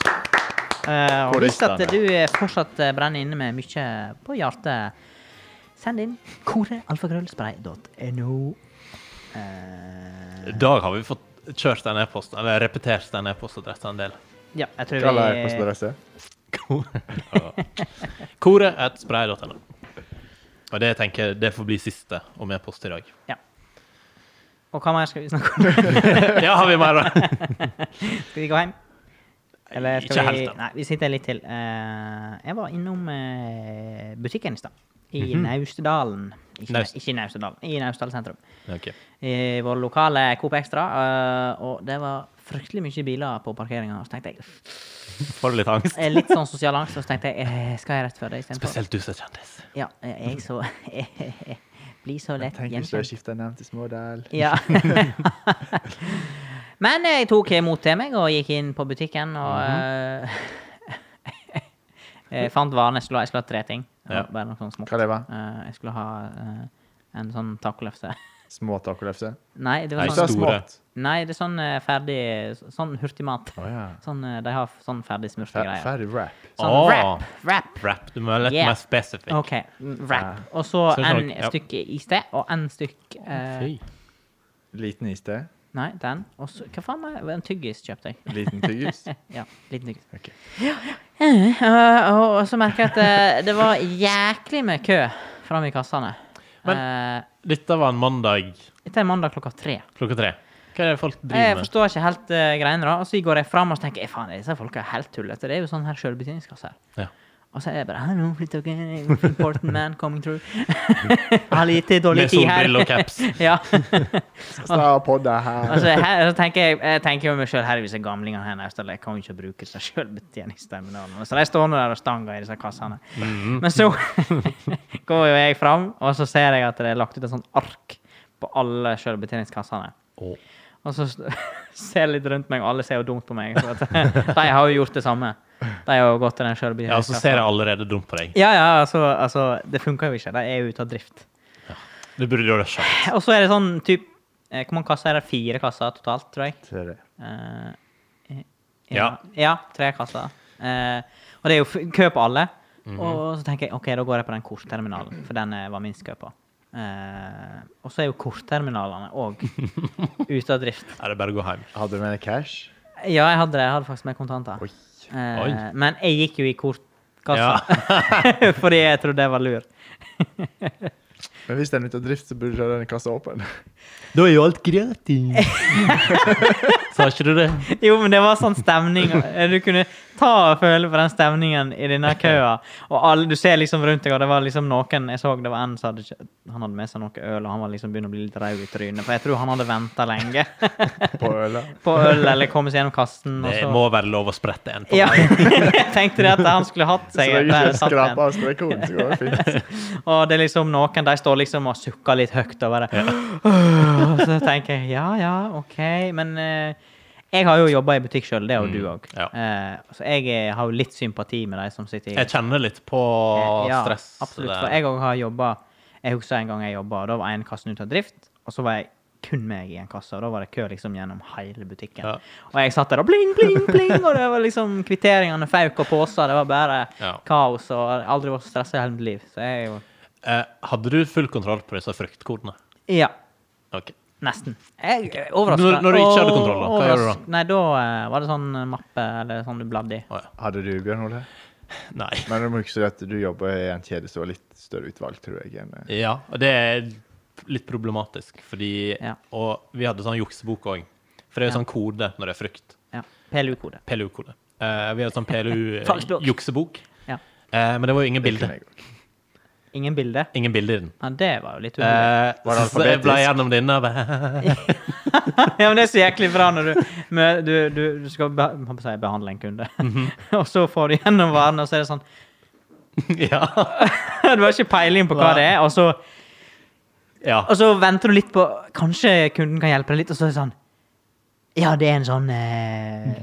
Speaker 3: Eh, og hvis at
Speaker 1: Koristene.
Speaker 3: du eh, fortsatt eh, brenner inne med mye på hjertet, send inn korealfakrøllspray.no. Eh,
Speaker 2: I dag har vi fått kjørt den e-posten, eller repetert den e-postadressen en del.
Speaker 3: ja, jeg tror
Speaker 1: Hva la jeg på
Speaker 3: vi
Speaker 1: adresse?
Speaker 2: Koret.spray.no. Og det tenker jeg, det får bli siste om e-post i dag.
Speaker 3: ja. Og hva mer skal vi snakke om?
Speaker 2: Ja, har vi mer, da?
Speaker 3: Skal vi gå hjem? Eller
Speaker 2: Ikke
Speaker 3: skal vi
Speaker 2: helt, da.
Speaker 3: Nei, vi sitter litt til. Eh, jeg var innom eh, butikken i stad. I Naustdalen. Ikke,
Speaker 2: Mhm. Naust-
Speaker 3: ikke i Naustdalen, i Naustdal sentrum.
Speaker 2: Ok.
Speaker 3: i vår lokale Coop Extra, eh, og det var fryktelig mye biler på parkeringa. Så tenkte jeg
Speaker 2: Får du litt angst?
Speaker 3: eh, litt sånn sosial angst, og så tenkte jeg eh, skal jeg rett før det istedenfor?
Speaker 2: Spesielt du som er kjendis.
Speaker 3: Ja, eh, jeg så Blir så lett
Speaker 1: Tenk hvis du har
Speaker 3: gjenkjent.
Speaker 1: skifta navn til Smådal.
Speaker 3: Ja. Men eh, jeg tok imot til meg og gikk inn på butikken og eh, eh, fant varene. Jeg skulle ha- jeg skulle ha tre ting.
Speaker 2: Ja.
Speaker 3: Bare noe sånn smått.
Speaker 1: Hva det var?
Speaker 3: Eh, jeg skulle ha eh, en sånn tacolefse.
Speaker 1: Små tacolefse?
Speaker 3: Nei, det var
Speaker 2: Nei,
Speaker 1: Du
Speaker 3: sånn
Speaker 1: sa
Speaker 2: store.
Speaker 1: smått.
Speaker 3: Nei, det er sånn eh, ferdig Sånn hurtigmat.
Speaker 1: Å ja.
Speaker 3: Sånn, eh, de har sånn ferdig smurte
Speaker 1: Fer-
Speaker 3: greier.
Speaker 1: Ferdig wrap.
Speaker 3: Sånn
Speaker 2: Ah.
Speaker 3: wrap. Wrap.
Speaker 2: Rap. Du må være litt
Speaker 3: Yeah.
Speaker 2: mer spesifikk.
Speaker 3: OK. Wrap. Og så
Speaker 2: Så sånn-
Speaker 3: en
Speaker 2: ja.
Speaker 3: stykke i sted, og en stykke eh,
Speaker 2: Fy.
Speaker 1: Liten iste.
Speaker 3: Nei, den. Og så Hva faen var det? En tyggis kjøpte jeg.
Speaker 1: Liten tyggis.
Speaker 3: Ja, liten tyggis.
Speaker 1: Ok.
Speaker 3: Eh, eh, Og og så merker jeg at eh, det var jæklig med kø fram i kassene. Eh,
Speaker 2: Dette var en mandag
Speaker 3: Dette er mandag klokka tre.
Speaker 2: klokka tre. Hva er det folk
Speaker 3: Jeg
Speaker 2: driver med?
Speaker 3: forstår ikke helt eh, greiene, da. Og så går jeg fram og så tenker jeg, faen, disse folka er helt tullete. Det er jo sånn her sjølbetjeningskasse her.
Speaker 2: Ja.
Speaker 3: Og så er jeg bare Hello, flytt dere. Important man coming through. Jeg har lite dårlig
Speaker 2: Med
Speaker 3: tid her.
Speaker 2: solbriller og caps.
Speaker 3: ja.
Speaker 1: Stå på det her.
Speaker 3: Altså, her, så tenker jeg, jeg tenker jo meg sjøl her, disse gamlingene her i Australia jeg kan jo ikke bruke seg sjøl betjeningsterminalene. Så de står nå der og stanger i disse kassene.
Speaker 2: Mhm.
Speaker 3: Men så går jo jeg fram, og så ser jeg at det er lagt ut et sånt ark på alle sjølbetjeningskassene.
Speaker 2: Å.
Speaker 3: Og så st- ser jeg litt rundt meg, og alle ser jo dumt på meg. Så at, de har jo gjort det samme. De har jo gått til den
Speaker 2: Ja, så
Speaker 3: sjølbetjeningskassa.
Speaker 2: ser jeg allerede dumt på deg.
Speaker 3: Ja, ja, altså, altså Det funker jo ikke. De er jo ute av drift.
Speaker 2: Du burde jo rusha.
Speaker 3: Og så er det sånn typ eh, Hvor mange kasser er det? Fire kasser totalt, tror jeg.
Speaker 1: Tre.
Speaker 3: Eh, eh,
Speaker 2: Ja.
Speaker 3: ja. ja, tre kasser. Eh, og det er jo f- kø på alle. Og så tenker jeg ok, da går jeg på den kortterminalen, for den eh, var minst kø på. Eh, og så er jo kortterminalene òg ute av drift.
Speaker 2: Er det bare å gå hjem?
Speaker 1: Hadde du med deg cash?
Speaker 3: Ja, jeg hadde det. Jeg hadde faktisk med kontanter.
Speaker 1: Oi.
Speaker 3: Eh,
Speaker 2: Oi.
Speaker 3: men jeg gikk jo i
Speaker 2: Ja.
Speaker 3: kortkassa fordi jeg trodde jeg var lur.
Speaker 1: Men hvis den er ute av drift, så burde du ha den kassa åpen.
Speaker 2: Da er jo alt gratis. Sa ikke du det?
Speaker 3: Jo, men det var sånn stemning. eh, Du kunne ta og føle på den stemningen i denne køa. Og alle, du ser liksom rundt deg, og det var liksom noen Jeg så det var en som hadde, kjø- han hadde med seg noe øl, og han var liksom begynner å bli litt rød i trynet. For jeg tror han hadde venta lenge
Speaker 1: På øla.
Speaker 3: på øl, eller kommet seg gjennom kassen. Og
Speaker 2: Det
Speaker 3: så.
Speaker 2: må være lov å sprette en på.
Speaker 3: Ja, jeg tenkte det at han skulle hatt
Speaker 1: Så
Speaker 3: seg
Speaker 1: lenge
Speaker 3: der
Speaker 1: du
Speaker 3: satt en.
Speaker 1: skraper av strekkoden, så går det fint.
Speaker 3: Og det er liksom noen de står liksom og sukker litt høyt og bare Og Så tenker jeg ja, ja, OK. Men eh, jeg har jo jobba i butikk sjøl, det har jo du òg.
Speaker 2: Mm, ja.
Speaker 3: så jeg eh, har jo litt sympati med de som sitter i
Speaker 2: Jeg kjenner litt på
Speaker 3: Eh, ja,
Speaker 2: stress.
Speaker 3: Absolutt.
Speaker 2: der.
Speaker 3: For jeg òg har jobba Jeg husker en gang jeg jobba, og da var en kassen ute av drift. Og så var jeg kun meg i en kasse, og da var det kø liksom gjennom hele butikken.
Speaker 2: Ja.
Speaker 3: Og jeg satt der og bling, bling, bling, og det var liksom kvitteringene fauk og poser. Det var bare
Speaker 2: Ja.
Speaker 3: kaos, og jeg har aldri vært så stressa i hele mitt liv. Så jeg er jo
Speaker 2: Eh, hadde du full kontroll på disse fruktkodene?
Speaker 3: Ja.
Speaker 2: Ok.
Speaker 3: Nesten. Jeg er overrasket.
Speaker 2: Når- når du ikke hadde kontroll, da, hva
Speaker 3: Overrask-
Speaker 2: gjør du
Speaker 3: Nei, da eh, var det sånn eh, mappe eller sånn du bladde i.
Speaker 2: Å ja.
Speaker 1: Hadde du, Bjørn Ole?
Speaker 2: Nei.
Speaker 1: Men du må huske at du jobber i en kjede som har litt større utvalg, tror jeg. enn, eh,
Speaker 2: Ja, og det er litt problematisk, fordi
Speaker 3: Ja.
Speaker 2: Og vi hadde sånn juksebok òg. For det er jo
Speaker 3: Ja.
Speaker 2: sånn kode når det er frukt.
Speaker 3: Ja. PLU-kode.
Speaker 2: PLU-kode. Eh, vi hadde sånn
Speaker 3: Fagspråk.
Speaker 2: PLU-juksebok.
Speaker 3: Ja.
Speaker 2: Eh, men det var jo ingen
Speaker 1: det kunne
Speaker 2: bilder.
Speaker 1: jeg også.
Speaker 3: Ingen bilde.
Speaker 2: Ingen bilder i den.
Speaker 3: Ja, det var jo litt uheldig.
Speaker 2: Eh,
Speaker 1: Mm. Var det
Speaker 2: så jeg ble
Speaker 1: alfabetisk?
Speaker 2: gjennom denne og bare
Speaker 3: ja, men det er så jæklig bra når du, mø- du, du, du skal be, hva skal jeg si, behandle en kunde,
Speaker 2: Mhm.
Speaker 3: og så får du gjennom varene, og så er det sånn
Speaker 2: Ja.
Speaker 3: Du har ikke peiling på
Speaker 2: Nei.
Speaker 3: hva det er, og så,
Speaker 2: ja.
Speaker 3: og så venter du litt på Kanskje kunden kan hjelpe deg litt, og så er det sånn Ja, det er en sånn eh,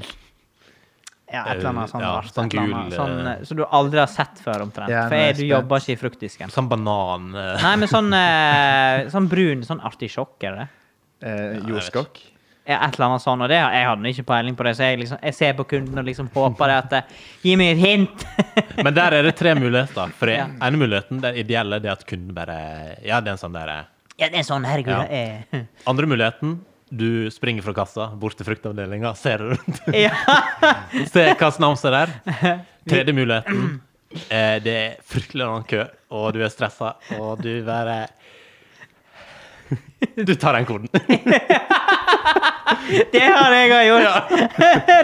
Speaker 3: Ja, et eller annet sånn
Speaker 2: Ja,
Speaker 3: rart.
Speaker 2: sånn
Speaker 3: et eller annet,
Speaker 2: gul,
Speaker 3: sånn,
Speaker 2: eh,
Speaker 3: eh, så du aldri har sett før, omtrent.
Speaker 1: Ja,
Speaker 3: for
Speaker 1: nå er jeg
Speaker 3: jeg, du
Speaker 1: spent.
Speaker 3: jobber ikke i fruktdisken.
Speaker 2: Sånn banan eh,
Speaker 3: Nei, men sånn, eh, sånn brun, sånn artisjokk, er det det?
Speaker 1: Eh,
Speaker 2: vet
Speaker 1: jordskokk?
Speaker 3: Ja, et eller annet sånn, og det, jeg hadde ikke peiling på det, så jeg, liksom, jeg ser på kunden og liksom håper det at det, Gi meg et hint!
Speaker 2: Men der er det tre muligheter. For
Speaker 3: Ja.
Speaker 2: den ene muligheten, den ideelle, det er at kunden bare Ja, det er en sånn der eh.
Speaker 3: ja, det er sånn, herregud.
Speaker 2: Ja.
Speaker 3: Ja.
Speaker 2: Andre muligheten, du springer fra kassa, bort til fruktavdelinga, ser deg rundt,
Speaker 3: ja.
Speaker 2: ser hva som er der. Tredje muligheten, eh, det er fryktelig lang kø, og du er stressa, og du bare Du tar den koden.
Speaker 3: Det har jeg òg gjort!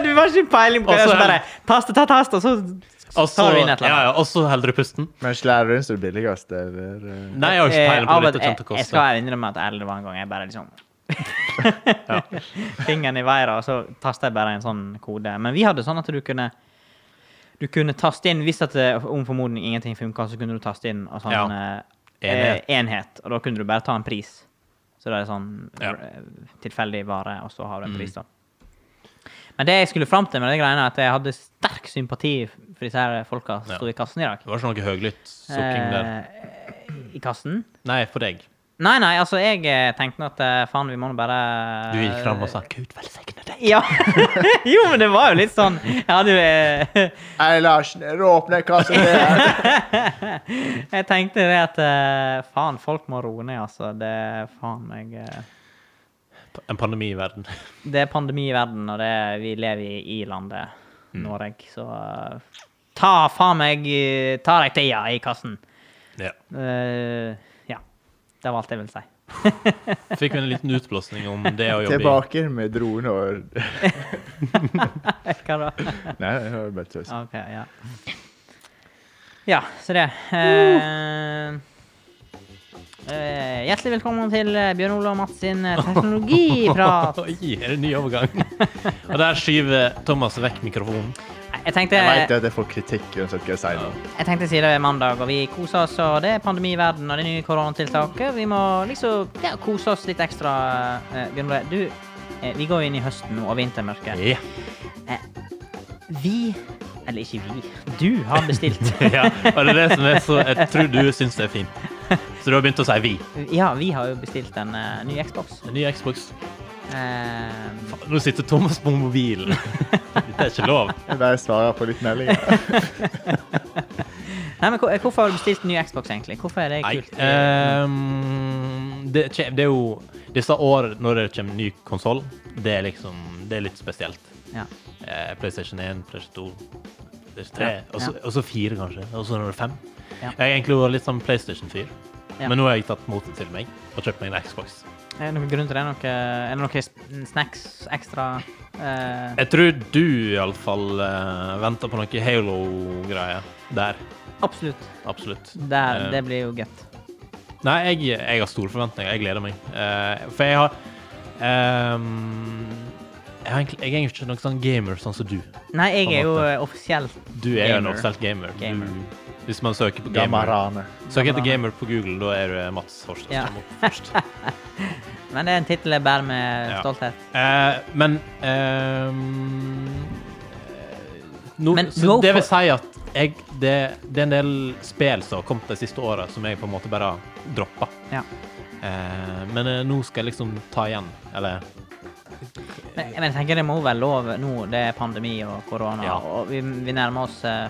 Speaker 3: du har ikke peiling på det,
Speaker 2: Og
Speaker 3: og
Speaker 2: så
Speaker 3: så bare tast, ta tast, og så
Speaker 2: Og så
Speaker 3: tar du inn et eller
Speaker 2: Altså, ja,
Speaker 3: annet.
Speaker 2: ja, og så holder du pusten.
Speaker 1: Men slærer du så er det billigst, eller? eh,
Speaker 2: Nei, jeg har ikke
Speaker 3: Eh,
Speaker 2: peiling på
Speaker 3: av
Speaker 2: hvor
Speaker 3: og-
Speaker 2: lite det kommer til å
Speaker 3: jeg, jeg
Speaker 2: koste.
Speaker 3: skal innrømme at ærlig, det var en gang jeg bare liksom Fingeren i været, og så tastet jeg bare en sånn kode. Men vi hadde sånn at du kunne du kunne taste inn, Hvis at det, om formodning ingenting funka, så kunne du taste inn og sånn,
Speaker 2: Ja.
Speaker 3: eh,
Speaker 2: Enhet.
Speaker 3: Eh, enhet. Og da kunne du bare ta en pris. Så det er sånn
Speaker 2: Ja. Mm.
Speaker 3: eh, tilfeldig vare, og så har du en pris, da. Men det jeg skulle fram til med de greiene, er at jeg hadde sterk sympati for disse her folka som
Speaker 2: Ja.
Speaker 3: sto i kassen i dag.
Speaker 2: Det var ikke noe høylytt sukking der.
Speaker 3: Eh, I kassen.
Speaker 2: Nei, for deg.
Speaker 3: Nei, nei, altså, jeg eh, tenkte nå at eh, faen, vi må nå bare eh,
Speaker 2: Du gikk fram og sa 'Gud velsigne deg'.
Speaker 3: Ja. jo, men det var jo litt sånn Jeg hadde jo eh,
Speaker 1: Hei, Larsen, er du åpne kassa der?
Speaker 3: Jeg tenkte det at eh, faen, folk må roe ned, altså. Det er faen meg eh,
Speaker 2: En pandemi i verden. Mm.
Speaker 3: Det er pandemi i verden, og det er, vi lever i i landet Norge, så eh, Ta faen meg eh, Ta deg tida i kassen.
Speaker 2: Ja.
Speaker 3: Eh, ja. Det var alt jeg ville si.
Speaker 2: Fikk vi en liten utblåsning om det å jobbe i
Speaker 1: Tilbake med droner og
Speaker 3: Hva da?
Speaker 1: Nei, det var bare tøys.
Speaker 3: OK, ja. Ja, så det. Eh, eh, hjertelig velkommen til eh, Bjørn Ole og Mats sin eh, teknologiprat.
Speaker 2: Oi, er det en ny overgang? Og der skyver Thomas vekk mikrofonen.
Speaker 3: Jeg tenkte,
Speaker 1: Jeg vet
Speaker 3: jeg
Speaker 1: at jeg får kritikk uansett hva jeg sier nå.
Speaker 3: tenkte siden det er mandag, og vi koser oss, og det er pandemiverden og det nye koronatiltaket. Vi må liksom ja, kose oss litt ekstra. eh, Bjørn Ole, du, eh, vi går jo inn i høsten nå, og vintermørket.
Speaker 2: Ja.
Speaker 3: Vi Eller ikke vi. Du har bestilt.
Speaker 2: ja. Og det er det som er så Jeg tror du syns det er fint. Så du har begynt å si vi.
Speaker 3: Ja, vi har jo bestilt en eh, ny Xbox.
Speaker 2: En ny Xbox.
Speaker 3: Eh,
Speaker 2: Nå sitter Thomas på mobilen. Dette er ikke lov.
Speaker 1: Jeg bare svarer på litt meldinger.
Speaker 3: nei, men hvor- eh, hvorfor har du bestilt en ny Xbox, egentlig? Hvorfor er det
Speaker 2: Nei.
Speaker 3: kult?
Speaker 2: ehm, det, kje- det er jo Disse år når det kommer ny konsoll, det er liksom Det er litt spesielt.
Speaker 3: Ja.
Speaker 2: Eh, PlayStation 1, PlayStation 2, PlayStation 3, og så- og så 4 kanskje. Og så når det er 5.
Speaker 3: Ja.
Speaker 2: Jeg har egentlig vært litt sånn PlayStation-fyr,
Speaker 3: Ja.
Speaker 2: men nå har jeg tatt motet til meg og kjøpt meg en Xbox.
Speaker 3: Er det noen grunn til det? Noe, er det noen sp- snacks ekstra? Eh,
Speaker 2: Jeg tror du iallfall uh, venter på noe Halo-greier der.
Speaker 3: absolutt.
Speaker 2: Absolutt.
Speaker 3: Der,
Speaker 2: Eh,
Speaker 3: det blir jo gøtt.
Speaker 2: Nei, jeg, jeg har store forventninger. Jeg gleder meg. Eh, for jeg har ehm, jeg, har egentlig, jeg er jo ikke noen sånn gamer sånn som du.
Speaker 3: Nei, jeg
Speaker 2: på en
Speaker 3: er jo
Speaker 2: måte.
Speaker 3: eh, offisielt
Speaker 2: Du er jo en
Speaker 3: Gamer.
Speaker 2: offisielt gamer.
Speaker 3: Gamer.
Speaker 2: Du, hvis man søker på gamer,
Speaker 1: Gamarane.
Speaker 2: søker etter
Speaker 3: Gamarane.
Speaker 2: gamer på Google, da er du Mats Horst. som
Speaker 3: Ja.
Speaker 2: kommer opp først.
Speaker 3: Men det er en tittel jeg bærer med
Speaker 2: Ja.
Speaker 3: stolthet.
Speaker 2: Eh, men ehm, eh, nå-
Speaker 3: Men
Speaker 2: så
Speaker 3: go
Speaker 2: Det
Speaker 3: for-
Speaker 2: vil si at jeg, det, det er en del spill som har kommet de siste åra, som jeg på en måte bare har droppa.
Speaker 3: Ja.
Speaker 2: Eh, men eh, nå skal jeg liksom ta igjen, eller
Speaker 3: Men, men jeg tenker det må være lov nå. Det er pandemi og korona,
Speaker 2: Ja.
Speaker 3: og vi, vi nærmer oss eh,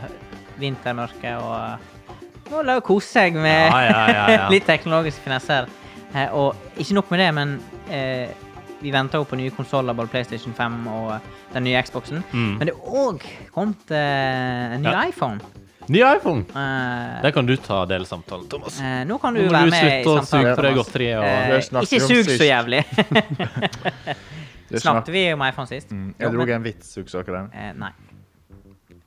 Speaker 3: vintermørket. Og eh, må la kose seg med
Speaker 2: Ja, ja, ja, ja.
Speaker 3: litt teknologiske finesser. Eh, og ikke nok med det, men eh, vi venter jo på nye konsoller, både PlayStation 5 og eh, den nye Xboxen.
Speaker 2: Mm.
Speaker 3: Men det er òg kommet eh, en ny
Speaker 2: Ja.
Speaker 3: iPhone.
Speaker 2: Ny iPhone!
Speaker 3: Eh,
Speaker 2: Der kan du ta delsamtalen, Thomas.
Speaker 3: eh, nå kan du
Speaker 2: Nå må
Speaker 3: være
Speaker 2: du
Speaker 3: med i
Speaker 2: slutte å suge
Speaker 3: samtalen.
Speaker 2: på det
Speaker 3: Thomas.
Speaker 2: godteriet.
Speaker 3: Eh,
Speaker 2: Og...
Speaker 1: Det snakket
Speaker 3: ikke
Speaker 1: vi om
Speaker 3: sug så
Speaker 1: sist.
Speaker 3: jævlig.
Speaker 1: Det er snakk-
Speaker 3: Snakket vi om iPhone sist?
Speaker 1: Mm,
Speaker 3: Jo,
Speaker 1: Jeg
Speaker 3: men-
Speaker 1: drog en vits, husker dere den?
Speaker 3: Eh, nei.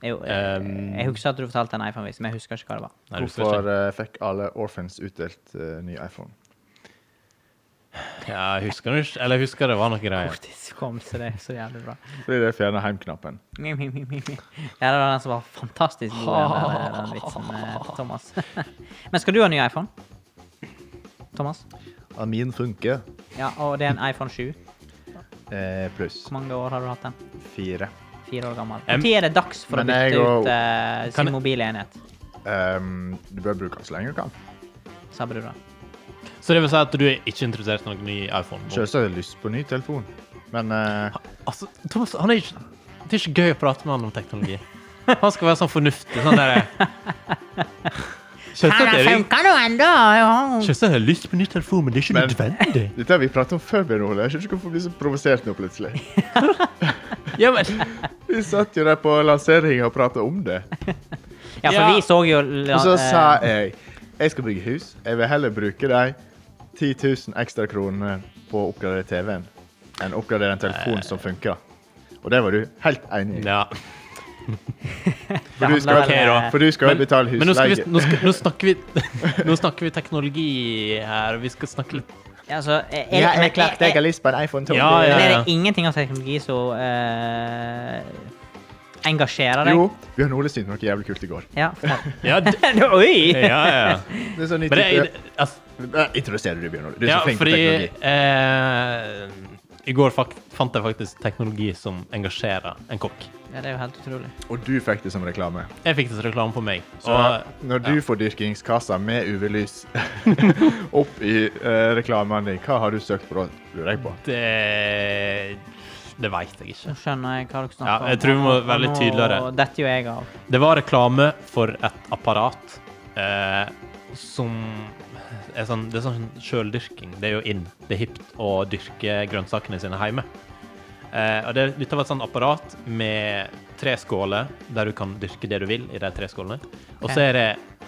Speaker 3: Jo, eh,
Speaker 2: Ehm.
Speaker 3: jeg husker at du fortalte en iPhone-vis, men jeg husker ikke hva det var.
Speaker 2: Nei, du skal
Speaker 1: Hvorfor eh, fikk alle orphans utdelt eh, ny iPhone?
Speaker 2: ikke- Ja, jeg husker du ikke? Eller jeg husker det var noe greier.
Speaker 3: Ortis kom, så det er så jævlig bra.
Speaker 1: Fordi det fjerna heimknappen.
Speaker 3: Ja, det var den som var fantastisk god, den, der, den vitsen eh, til Thomas. Men skal du ha ny iPhone? Thomas?
Speaker 1: Ja, min funker.
Speaker 3: Ja, og det er en iPhone 7.
Speaker 1: Eh, Pluss
Speaker 3: Hvor mange år har du hatt den?
Speaker 1: fire.
Speaker 3: Fire år gammel.
Speaker 2: Em-
Speaker 3: Når er det dags for å
Speaker 1: Men jeg
Speaker 3: bytte
Speaker 1: og-
Speaker 3: ut eh,
Speaker 2: Kan
Speaker 3: sin
Speaker 2: jeg-
Speaker 3: mobile enhet?
Speaker 1: Ehm, du bør bruke den så lenge du kan.
Speaker 3: Sa du da?
Speaker 2: Så det vil si at du er ikke interessert i noen ny iPhone? nå?
Speaker 1: Selvsagt har jeg lyst på ny telefon, men eh,
Speaker 2: Altså, Thomas, han er ikke, det er ikke gøy å prate med han om teknologi. Han skal være sånn fornuftig. sånn der... Selvsagt er det-
Speaker 3: funker nå ennå!
Speaker 2: selvsagt har jeg lyst på ny telefon, men det er ikke
Speaker 1: Men-
Speaker 2: nødvendig.
Speaker 1: Dette har vi pratet om før, Bjørn Ole. Jeg skjønner ikke hvorfor du blir så provosert nå plutselig.
Speaker 2: Ja, men,
Speaker 1: Vi satt jo der på lanseringa og prata om det.
Speaker 3: Ja, for
Speaker 2: Ja.
Speaker 3: vi så jo
Speaker 1: Og så
Speaker 3: eh,
Speaker 1: sa jeg jeg skal bygge hus. Jeg vil heller bruke de 10 000 ekstra kronene på å oppgradere TV-en enn å oppgradere en telefon som funker. Og det var du helt enig i.
Speaker 2: ja.
Speaker 1: For du
Speaker 3: Det
Speaker 1: skal,
Speaker 3: handler vel, eh,
Speaker 1: for du skal jo betale
Speaker 2: men nå, skal vi,
Speaker 1: husleie.
Speaker 2: nå, skal, nå, snakker vi, nå snakker vi teknologi her, og vi skal snakke litt
Speaker 3: Ja, altså, eh,
Speaker 1: Ja,
Speaker 3: men-
Speaker 1: jeg klarte jeg har lyst på en iPhone 12.
Speaker 2: Ja,
Speaker 3: Men
Speaker 2: ja.
Speaker 3: er det ingenting av teknologi som eh, engasjerer deg?
Speaker 1: Jo, Bjørn Ole syntes noe jævlig kult i går.
Speaker 3: Ja, fortell.
Speaker 2: Ja, d-
Speaker 3: Oi!
Speaker 2: ja, ja.
Speaker 1: Det er sånn ny
Speaker 2: Men det,
Speaker 1: type...
Speaker 2: det- altså,
Speaker 1: Nei, Introduserer du, Bjørn Ole? Du er
Speaker 2: ja,
Speaker 1: så flink på
Speaker 2: fordi
Speaker 1: teknologi.
Speaker 2: eh, I går fak fant jeg faktisk teknologi som engasjerer en kokk.
Speaker 3: Ja, det er jo helt utrolig.
Speaker 1: Og du fikk det som reklame.
Speaker 2: Jeg fikk det som reklame på meg.
Speaker 1: Så
Speaker 2: og-
Speaker 1: når du får dyrkingskassa med UV-lys opp i eh, reklamen din, hva har du søkt på da, lurer jeg på?
Speaker 2: Det Det veit jeg ikke.
Speaker 3: Nå skjønner jeg hva dere snakker
Speaker 2: Ja, jeg tror vi må være litt
Speaker 3: Nå
Speaker 2: tydeligere.
Speaker 3: detter jo jeg av.
Speaker 2: Det var reklame for et apparat eh, som er sånn, Det er sånn sjøldyrking. Det er jo in. Det er hipt å dyrke grønnsakene sine hjemme. Eh, og det, dette var et sånt apparat med tre skåler, der du kan dyrke det du vil i de tre skålene. Og så
Speaker 3: Ja.
Speaker 2: er det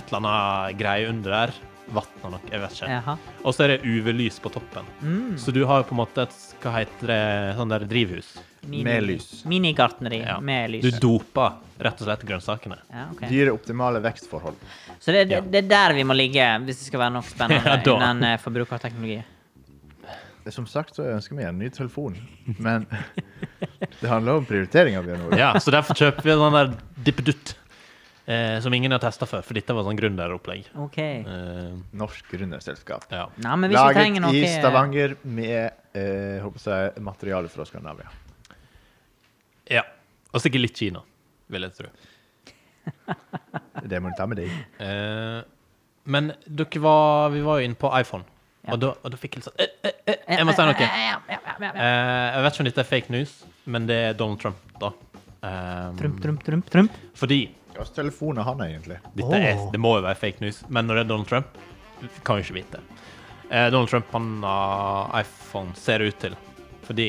Speaker 2: et eller annet greie under der. Vann og noe, jeg vet ikke.
Speaker 3: Jaha.
Speaker 2: Og så er det UV-lys på toppen.
Speaker 3: Mm.
Speaker 2: Så du har jo på en måte et hva heter det, sånn der drivhus.
Speaker 3: Mini-
Speaker 1: Med lys.
Speaker 3: Minigartneri
Speaker 2: Ja.
Speaker 3: med
Speaker 2: Du
Speaker 3: lys.
Speaker 2: doper rett og slett grønnsakene.
Speaker 3: Ja, ok.
Speaker 1: Dyre optimale vekstforhold.
Speaker 3: Så det,
Speaker 2: Ja.
Speaker 3: det, det er der vi må ligge hvis det skal være noe spennende
Speaker 2: Ja, da.
Speaker 3: innen eh, forbrukerteknologi.
Speaker 1: Som sagt så ønsker vi en ny telefon, men det handler om prioriteringer, Bjørn Ole.
Speaker 2: Ja, så derfor kjøper vi sånn der dippedutt, eh, som ingen har testa før, for dette var sånn gründeropplegg.
Speaker 3: OK.
Speaker 2: Eh,
Speaker 1: Norsk gründerselskap.
Speaker 2: ja.
Speaker 3: Nei, men hvis vi
Speaker 1: Laget
Speaker 3: trenger noe eh,
Speaker 1: i Stavanger med eh, håper jeg, materiale fra Skandinavia.
Speaker 2: ja. Og sikkert litt Kina, vil jeg tro.
Speaker 1: Det må du ta med deg.
Speaker 2: Eh, men dere var Vi var jo inne på iPhone,
Speaker 3: Ja.
Speaker 2: og, da, og da fikk jeg litt sånn eh, eh, eh, Jeg må si noe.
Speaker 3: Ja, ja, ja, ja, ja.
Speaker 2: Eh, jeg vet ikke om dette er fake news, men det er Donald Trump, da. Eh,
Speaker 3: Trump, trump, trump, trump.
Speaker 2: Fordi
Speaker 1: Hvilken telefon har han egentlig?
Speaker 2: Dette er,
Speaker 3: Åh.
Speaker 2: det må jo være fake news, men når det er Donald Trump, kan vi ikke vite. Eh, Donald Trump han har iPhone, ser det ut til. Fordi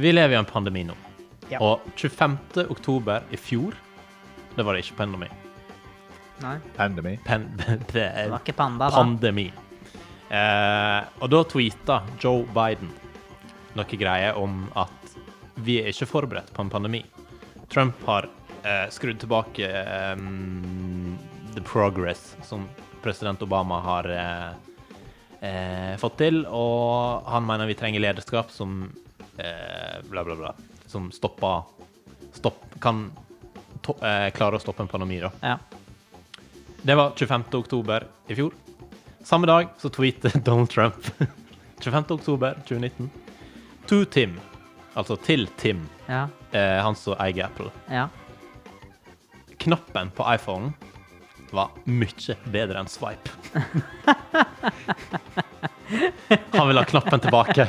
Speaker 2: vi lever i en pandemi nå.
Speaker 3: Ja.
Speaker 2: Og 25. oktober i fjor, det var det ikke pandemi.
Speaker 3: Nei,
Speaker 1: Pandemy.
Speaker 2: Pen,
Speaker 3: det var ikke panda, da.
Speaker 2: pandemi. Eh, og da tweeta Joe Biden noe greier om at vi er ikke forberedt på en pandemi. Trump har eh, skrudd tilbake eh, the progress som president Obama har eh, eh, fått til, og han mener vi trenger lederskap som eh, bla, bla, bla, som stopper stopp, kan to, eh, klare å stoppe en pandemi, da.
Speaker 3: Ja.
Speaker 2: Det var 25. oktober i fjor. Samme dag så tweetet Donald Trump 25. oktober 2019 to Tim, altså til Tim,
Speaker 3: Ja.
Speaker 2: eh, han som eier Apple.
Speaker 3: Ja.
Speaker 2: Knappen på iPhonen var mye bedre enn swipe. Han vil ha knappen tilbake.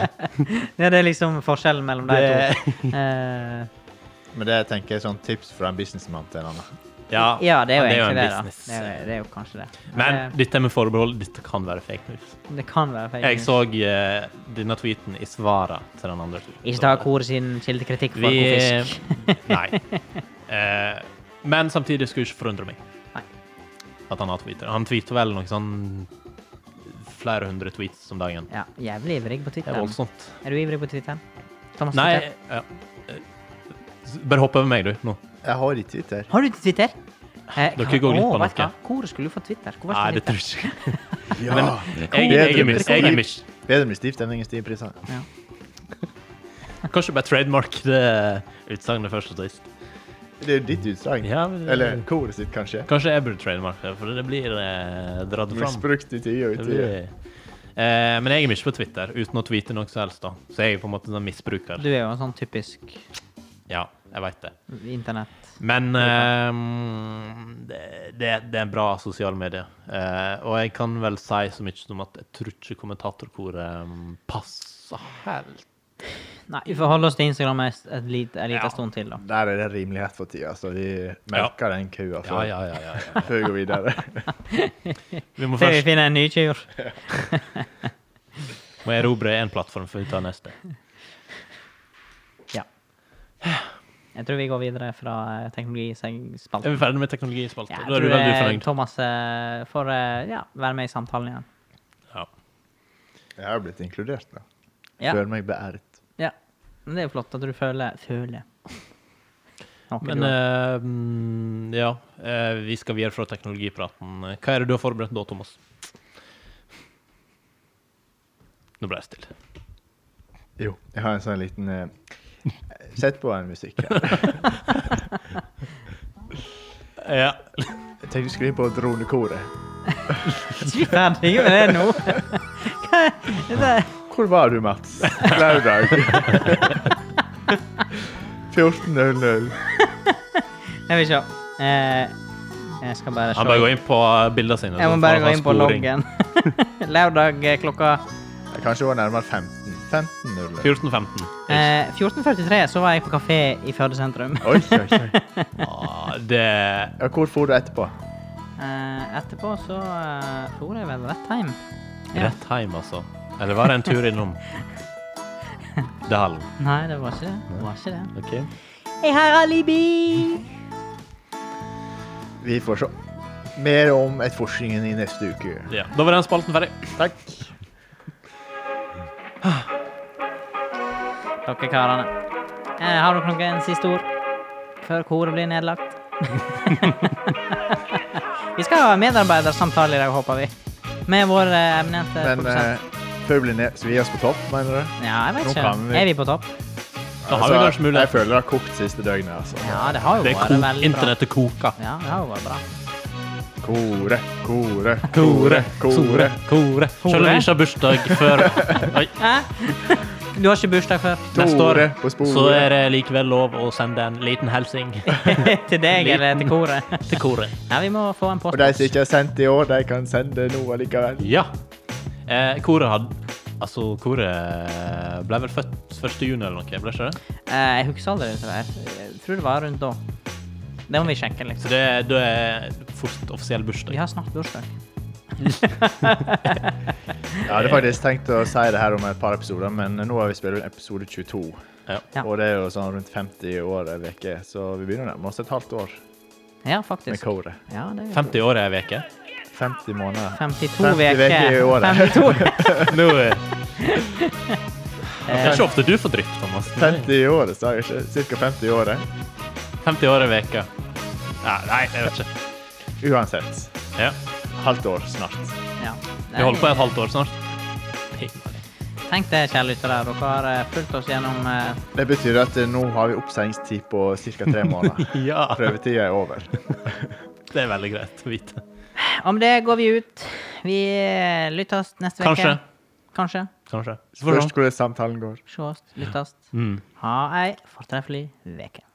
Speaker 3: ja, det er liksom forskjellen mellom de
Speaker 2: Det,
Speaker 3: to. Eh,
Speaker 1: Men det tenker jeg er sånn tips fra en businessmann til en annen.
Speaker 2: ja,
Speaker 3: ja, det er jo
Speaker 2: en
Speaker 3: egentlig det, da.
Speaker 2: business.
Speaker 3: Det er, det er jo kanskje det.
Speaker 2: Men
Speaker 3: det,
Speaker 2: dette med forbehold, dette kan være fake news.
Speaker 3: det kan være fake
Speaker 2: Jeg
Speaker 3: news.
Speaker 2: så eh, denne tweeten i svaret til den andre.
Speaker 3: Ikke ta koret sin kildekritikk for god
Speaker 2: Vi
Speaker 3: fisk.
Speaker 2: Nei. Eh, men samtidig skulle ikke forundre meg
Speaker 3: Nei.
Speaker 2: at han har tweeter. Han tweeter vel noe sånn flere hundre tweets om dagen.
Speaker 3: Ja, jævlig ivrig på
Speaker 2: Det er
Speaker 3: Twitter.
Speaker 2: voldsomt.
Speaker 3: Er du ivrig på Twitter? Thomas
Speaker 2: Nei
Speaker 3: Twitter?
Speaker 2: ja. eh, Bare hopp over meg, du. Nå.
Speaker 1: Jeg har ikke Twitter.
Speaker 3: Har du ikke Twitter? Eh,
Speaker 2: Dere går glipp av
Speaker 3: vet du
Speaker 2: noe.
Speaker 3: hva? Hvor skulle du få Twitter? Hvor var
Speaker 2: Nei, det
Speaker 3: Twitter?
Speaker 2: tror jeg ikke.
Speaker 1: Ja.
Speaker 2: Jeg, jeg, er mis- jeg er mis.
Speaker 1: Bedre med stiv stemning enn stiv pris. da.
Speaker 2: Kanskje bare trademark det utsagnet først og sist.
Speaker 1: Det er jo ditt utsagn.
Speaker 2: Ja, men-
Speaker 1: Eller koret sitt, kanskje.
Speaker 2: Kanskje jeg burde trademarke det, for det blir eh, dratt fram.
Speaker 1: Misbrukt i tide og
Speaker 2: Det
Speaker 1: utide.
Speaker 2: blir... Eh, men jeg er mye på Twitter, uten å tweete noe som helst. da. Så jeg er på en måte sånn misbruker.
Speaker 3: Du er jo en sånn typisk
Speaker 2: Ja, jeg veit det.
Speaker 3: internett...
Speaker 2: Men ehm, det, det, det er en bra sosiale medier. Eh, og jeg kan vel si så mye som at jeg tror ikke kommentatorkoret um, passer helt.
Speaker 3: Nei, vi får holde oss til Instagram en s- et lit- en liten
Speaker 2: Ja.
Speaker 3: stund til, da.
Speaker 1: Der er det rimelighet for tida, så vi melker den kua
Speaker 2: Ja,
Speaker 1: før,
Speaker 2: ja, ja, ja, ja.
Speaker 1: før vi går videre.
Speaker 2: Vi må
Speaker 3: Før vi
Speaker 2: først
Speaker 3: finner en ny kur.
Speaker 2: må erobre én plattform før vi tar neste.
Speaker 3: Jeg tror vi går videre fra eh, teknologispalten.
Speaker 2: Er vi ferdig med teknologispalten?
Speaker 3: Ja,
Speaker 2: Ja,
Speaker 3: jeg
Speaker 2: da er du
Speaker 3: tror
Speaker 2: veldig
Speaker 3: eh,
Speaker 2: fornøyd.
Speaker 3: Thomas eh, får eh, ja, være med i samtalen igjen.
Speaker 2: Ja.
Speaker 1: Jeg har blitt inkludert nå.
Speaker 3: Ja.
Speaker 1: Føler meg beæret.
Speaker 3: Ja. Men det er jo flott at du føler Føler. Noe
Speaker 2: Men
Speaker 3: du-
Speaker 2: eh, mm, ja, eh, vi skal videre fra teknologipraten. Hva er det du har forberedt da, Thomas? Nå ble jeg stille.
Speaker 1: Jo, jeg har en sånn liten eh, Sett på en musikk her.
Speaker 2: Ja.
Speaker 1: Jeg tenkte du skulle inn på dronekoret.
Speaker 3: Vi er ferdige med det nå. Hva er det?
Speaker 1: Hvor var du, Mats? Lørdag. 14.00.
Speaker 3: Jeg vil se. Eh, jeg skal bare se.
Speaker 2: Han bare går inn på bildene sine.
Speaker 3: Jeg må
Speaker 2: så
Speaker 3: bare
Speaker 2: får
Speaker 3: gå
Speaker 2: han
Speaker 3: inn på
Speaker 2: sporing.
Speaker 3: loggen. Lørdag eh, klokka
Speaker 1: Jeg Kanskje det var nærmere 15. 15.00.
Speaker 2: 14-15.
Speaker 3: eh, 14.43 så var jeg på kafé i Førde sentrum.
Speaker 1: Oi, oi, oi.
Speaker 2: Ah, det
Speaker 1: Ja, hvor for du etterpå?
Speaker 3: Eh, etterpå så eh, for jeg vel rett hjem. Ja.
Speaker 2: Rett hjem, altså. Eller var det en tur innom? Dalen.
Speaker 3: Nei, det var ikke det. det, var ikke det.
Speaker 2: OK.
Speaker 3: Jeg har alibi!
Speaker 1: Vi får se. Mer om etterforskningen i neste uke.
Speaker 2: Ja. Da var den spalten ferdig.
Speaker 1: Takk.
Speaker 3: Dere karene. Eh, har dere noen siste ord før koret blir nedlagt? vi skal ha medarbeidersamtale i dag, håper vi. Med vår eh, eminente
Speaker 1: Men
Speaker 3: produsent.
Speaker 1: eh, før vi blir ned, så vi er oss på topp, mener du?
Speaker 3: Ja, jeg vet
Speaker 1: nå
Speaker 3: ikke.
Speaker 1: kan vi-
Speaker 3: Er vi på topp?
Speaker 2: Da har vi kanskje mulighet.
Speaker 1: Altså, Jeg føler det har kokt siste døgnet, altså.
Speaker 3: Ja, det har jo
Speaker 2: Det er
Speaker 3: vært
Speaker 2: kok.
Speaker 3: veldig bra.
Speaker 2: Internettet koker.
Speaker 3: Ja, det har jo vært bra.
Speaker 1: Kore, kore,
Speaker 2: Kore,
Speaker 1: kore.
Speaker 2: kore, kore. Selv om vi ikke har bursdag før Oi,
Speaker 3: Eh? Du har ikke bursdag før?
Speaker 2: neste år,
Speaker 1: Tore på sporet.
Speaker 2: så er det likevel lov å sende en liten hilsen
Speaker 3: til deg eller til koret?
Speaker 2: til koret.
Speaker 3: Ja, vi må få en
Speaker 1: Og de
Speaker 3: postboks.
Speaker 1: som ikke har sendt i år, de kan sende noe likevel.
Speaker 2: Ja. Eh, koret hadde Altså, koret ble vel født 1. juni eller noe, ble ikke det?
Speaker 3: Eh, Jeg husker aldri det der. Jeg tror det var rundt da. Det må vi sjekke, liksom.
Speaker 2: Så det, det er fort offisiell bursdag.
Speaker 3: Vi har snart bursdag.
Speaker 1: Jeg hadde faktisk tenkt å si det her om et par episoder, men nå har vi spilt inn episode 22.
Speaker 2: Ja.
Speaker 3: Ja.
Speaker 1: Og det er jo sånn rundt 50 år ei uke, så vi begynner å nærme oss et halvt år
Speaker 3: Ja,
Speaker 1: med
Speaker 3: faktisk.
Speaker 1: koret.
Speaker 3: Ja, det er
Speaker 2: 50 år er ei uke.
Speaker 1: 50 måneder.
Speaker 3: 52
Speaker 1: 50
Speaker 3: uker.
Speaker 1: veker i året.
Speaker 3: 52.
Speaker 2: Nå er Det er
Speaker 3: Eh,
Speaker 2: ikke ofte du får drypp, Thomas.
Speaker 1: 50 i året, sa jeg ikke. Cirka eh. 50 i året.
Speaker 2: 50 år i veka. Ja, nei, jeg vet ikke.
Speaker 1: Uansett.
Speaker 2: Ja.
Speaker 1: Halvt år snart.
Speaker 3: ja.
Speaker 2: Vi holder på i et halvt år snart.
Speaker 3: Tenk det, kjære lyttere. Dere har eh, fulgt oss gjennom eh,
Speaker 1: Det betyr at eh, nå har vi oppseiingstid på ca. tre måneder.
Speaker 2: Ja,
Speaker 1: Prøvetida er over.
Speaker 2: det er veldig greit å vite.
Speaker 3: Om det går vi ut. Vi eh, lyttes neste uke.
Speaker 2: Kanskje.
Speaker 3: Kanskje.
Speaker 2: Kanskje. Så får vi se.
Speaker 1: Først hvordan samtalen går.
Speaker 3: Sjåst, lyttes.
Speaker 2: Mm.
Speaker 3: Ha ei fortreffelig uke.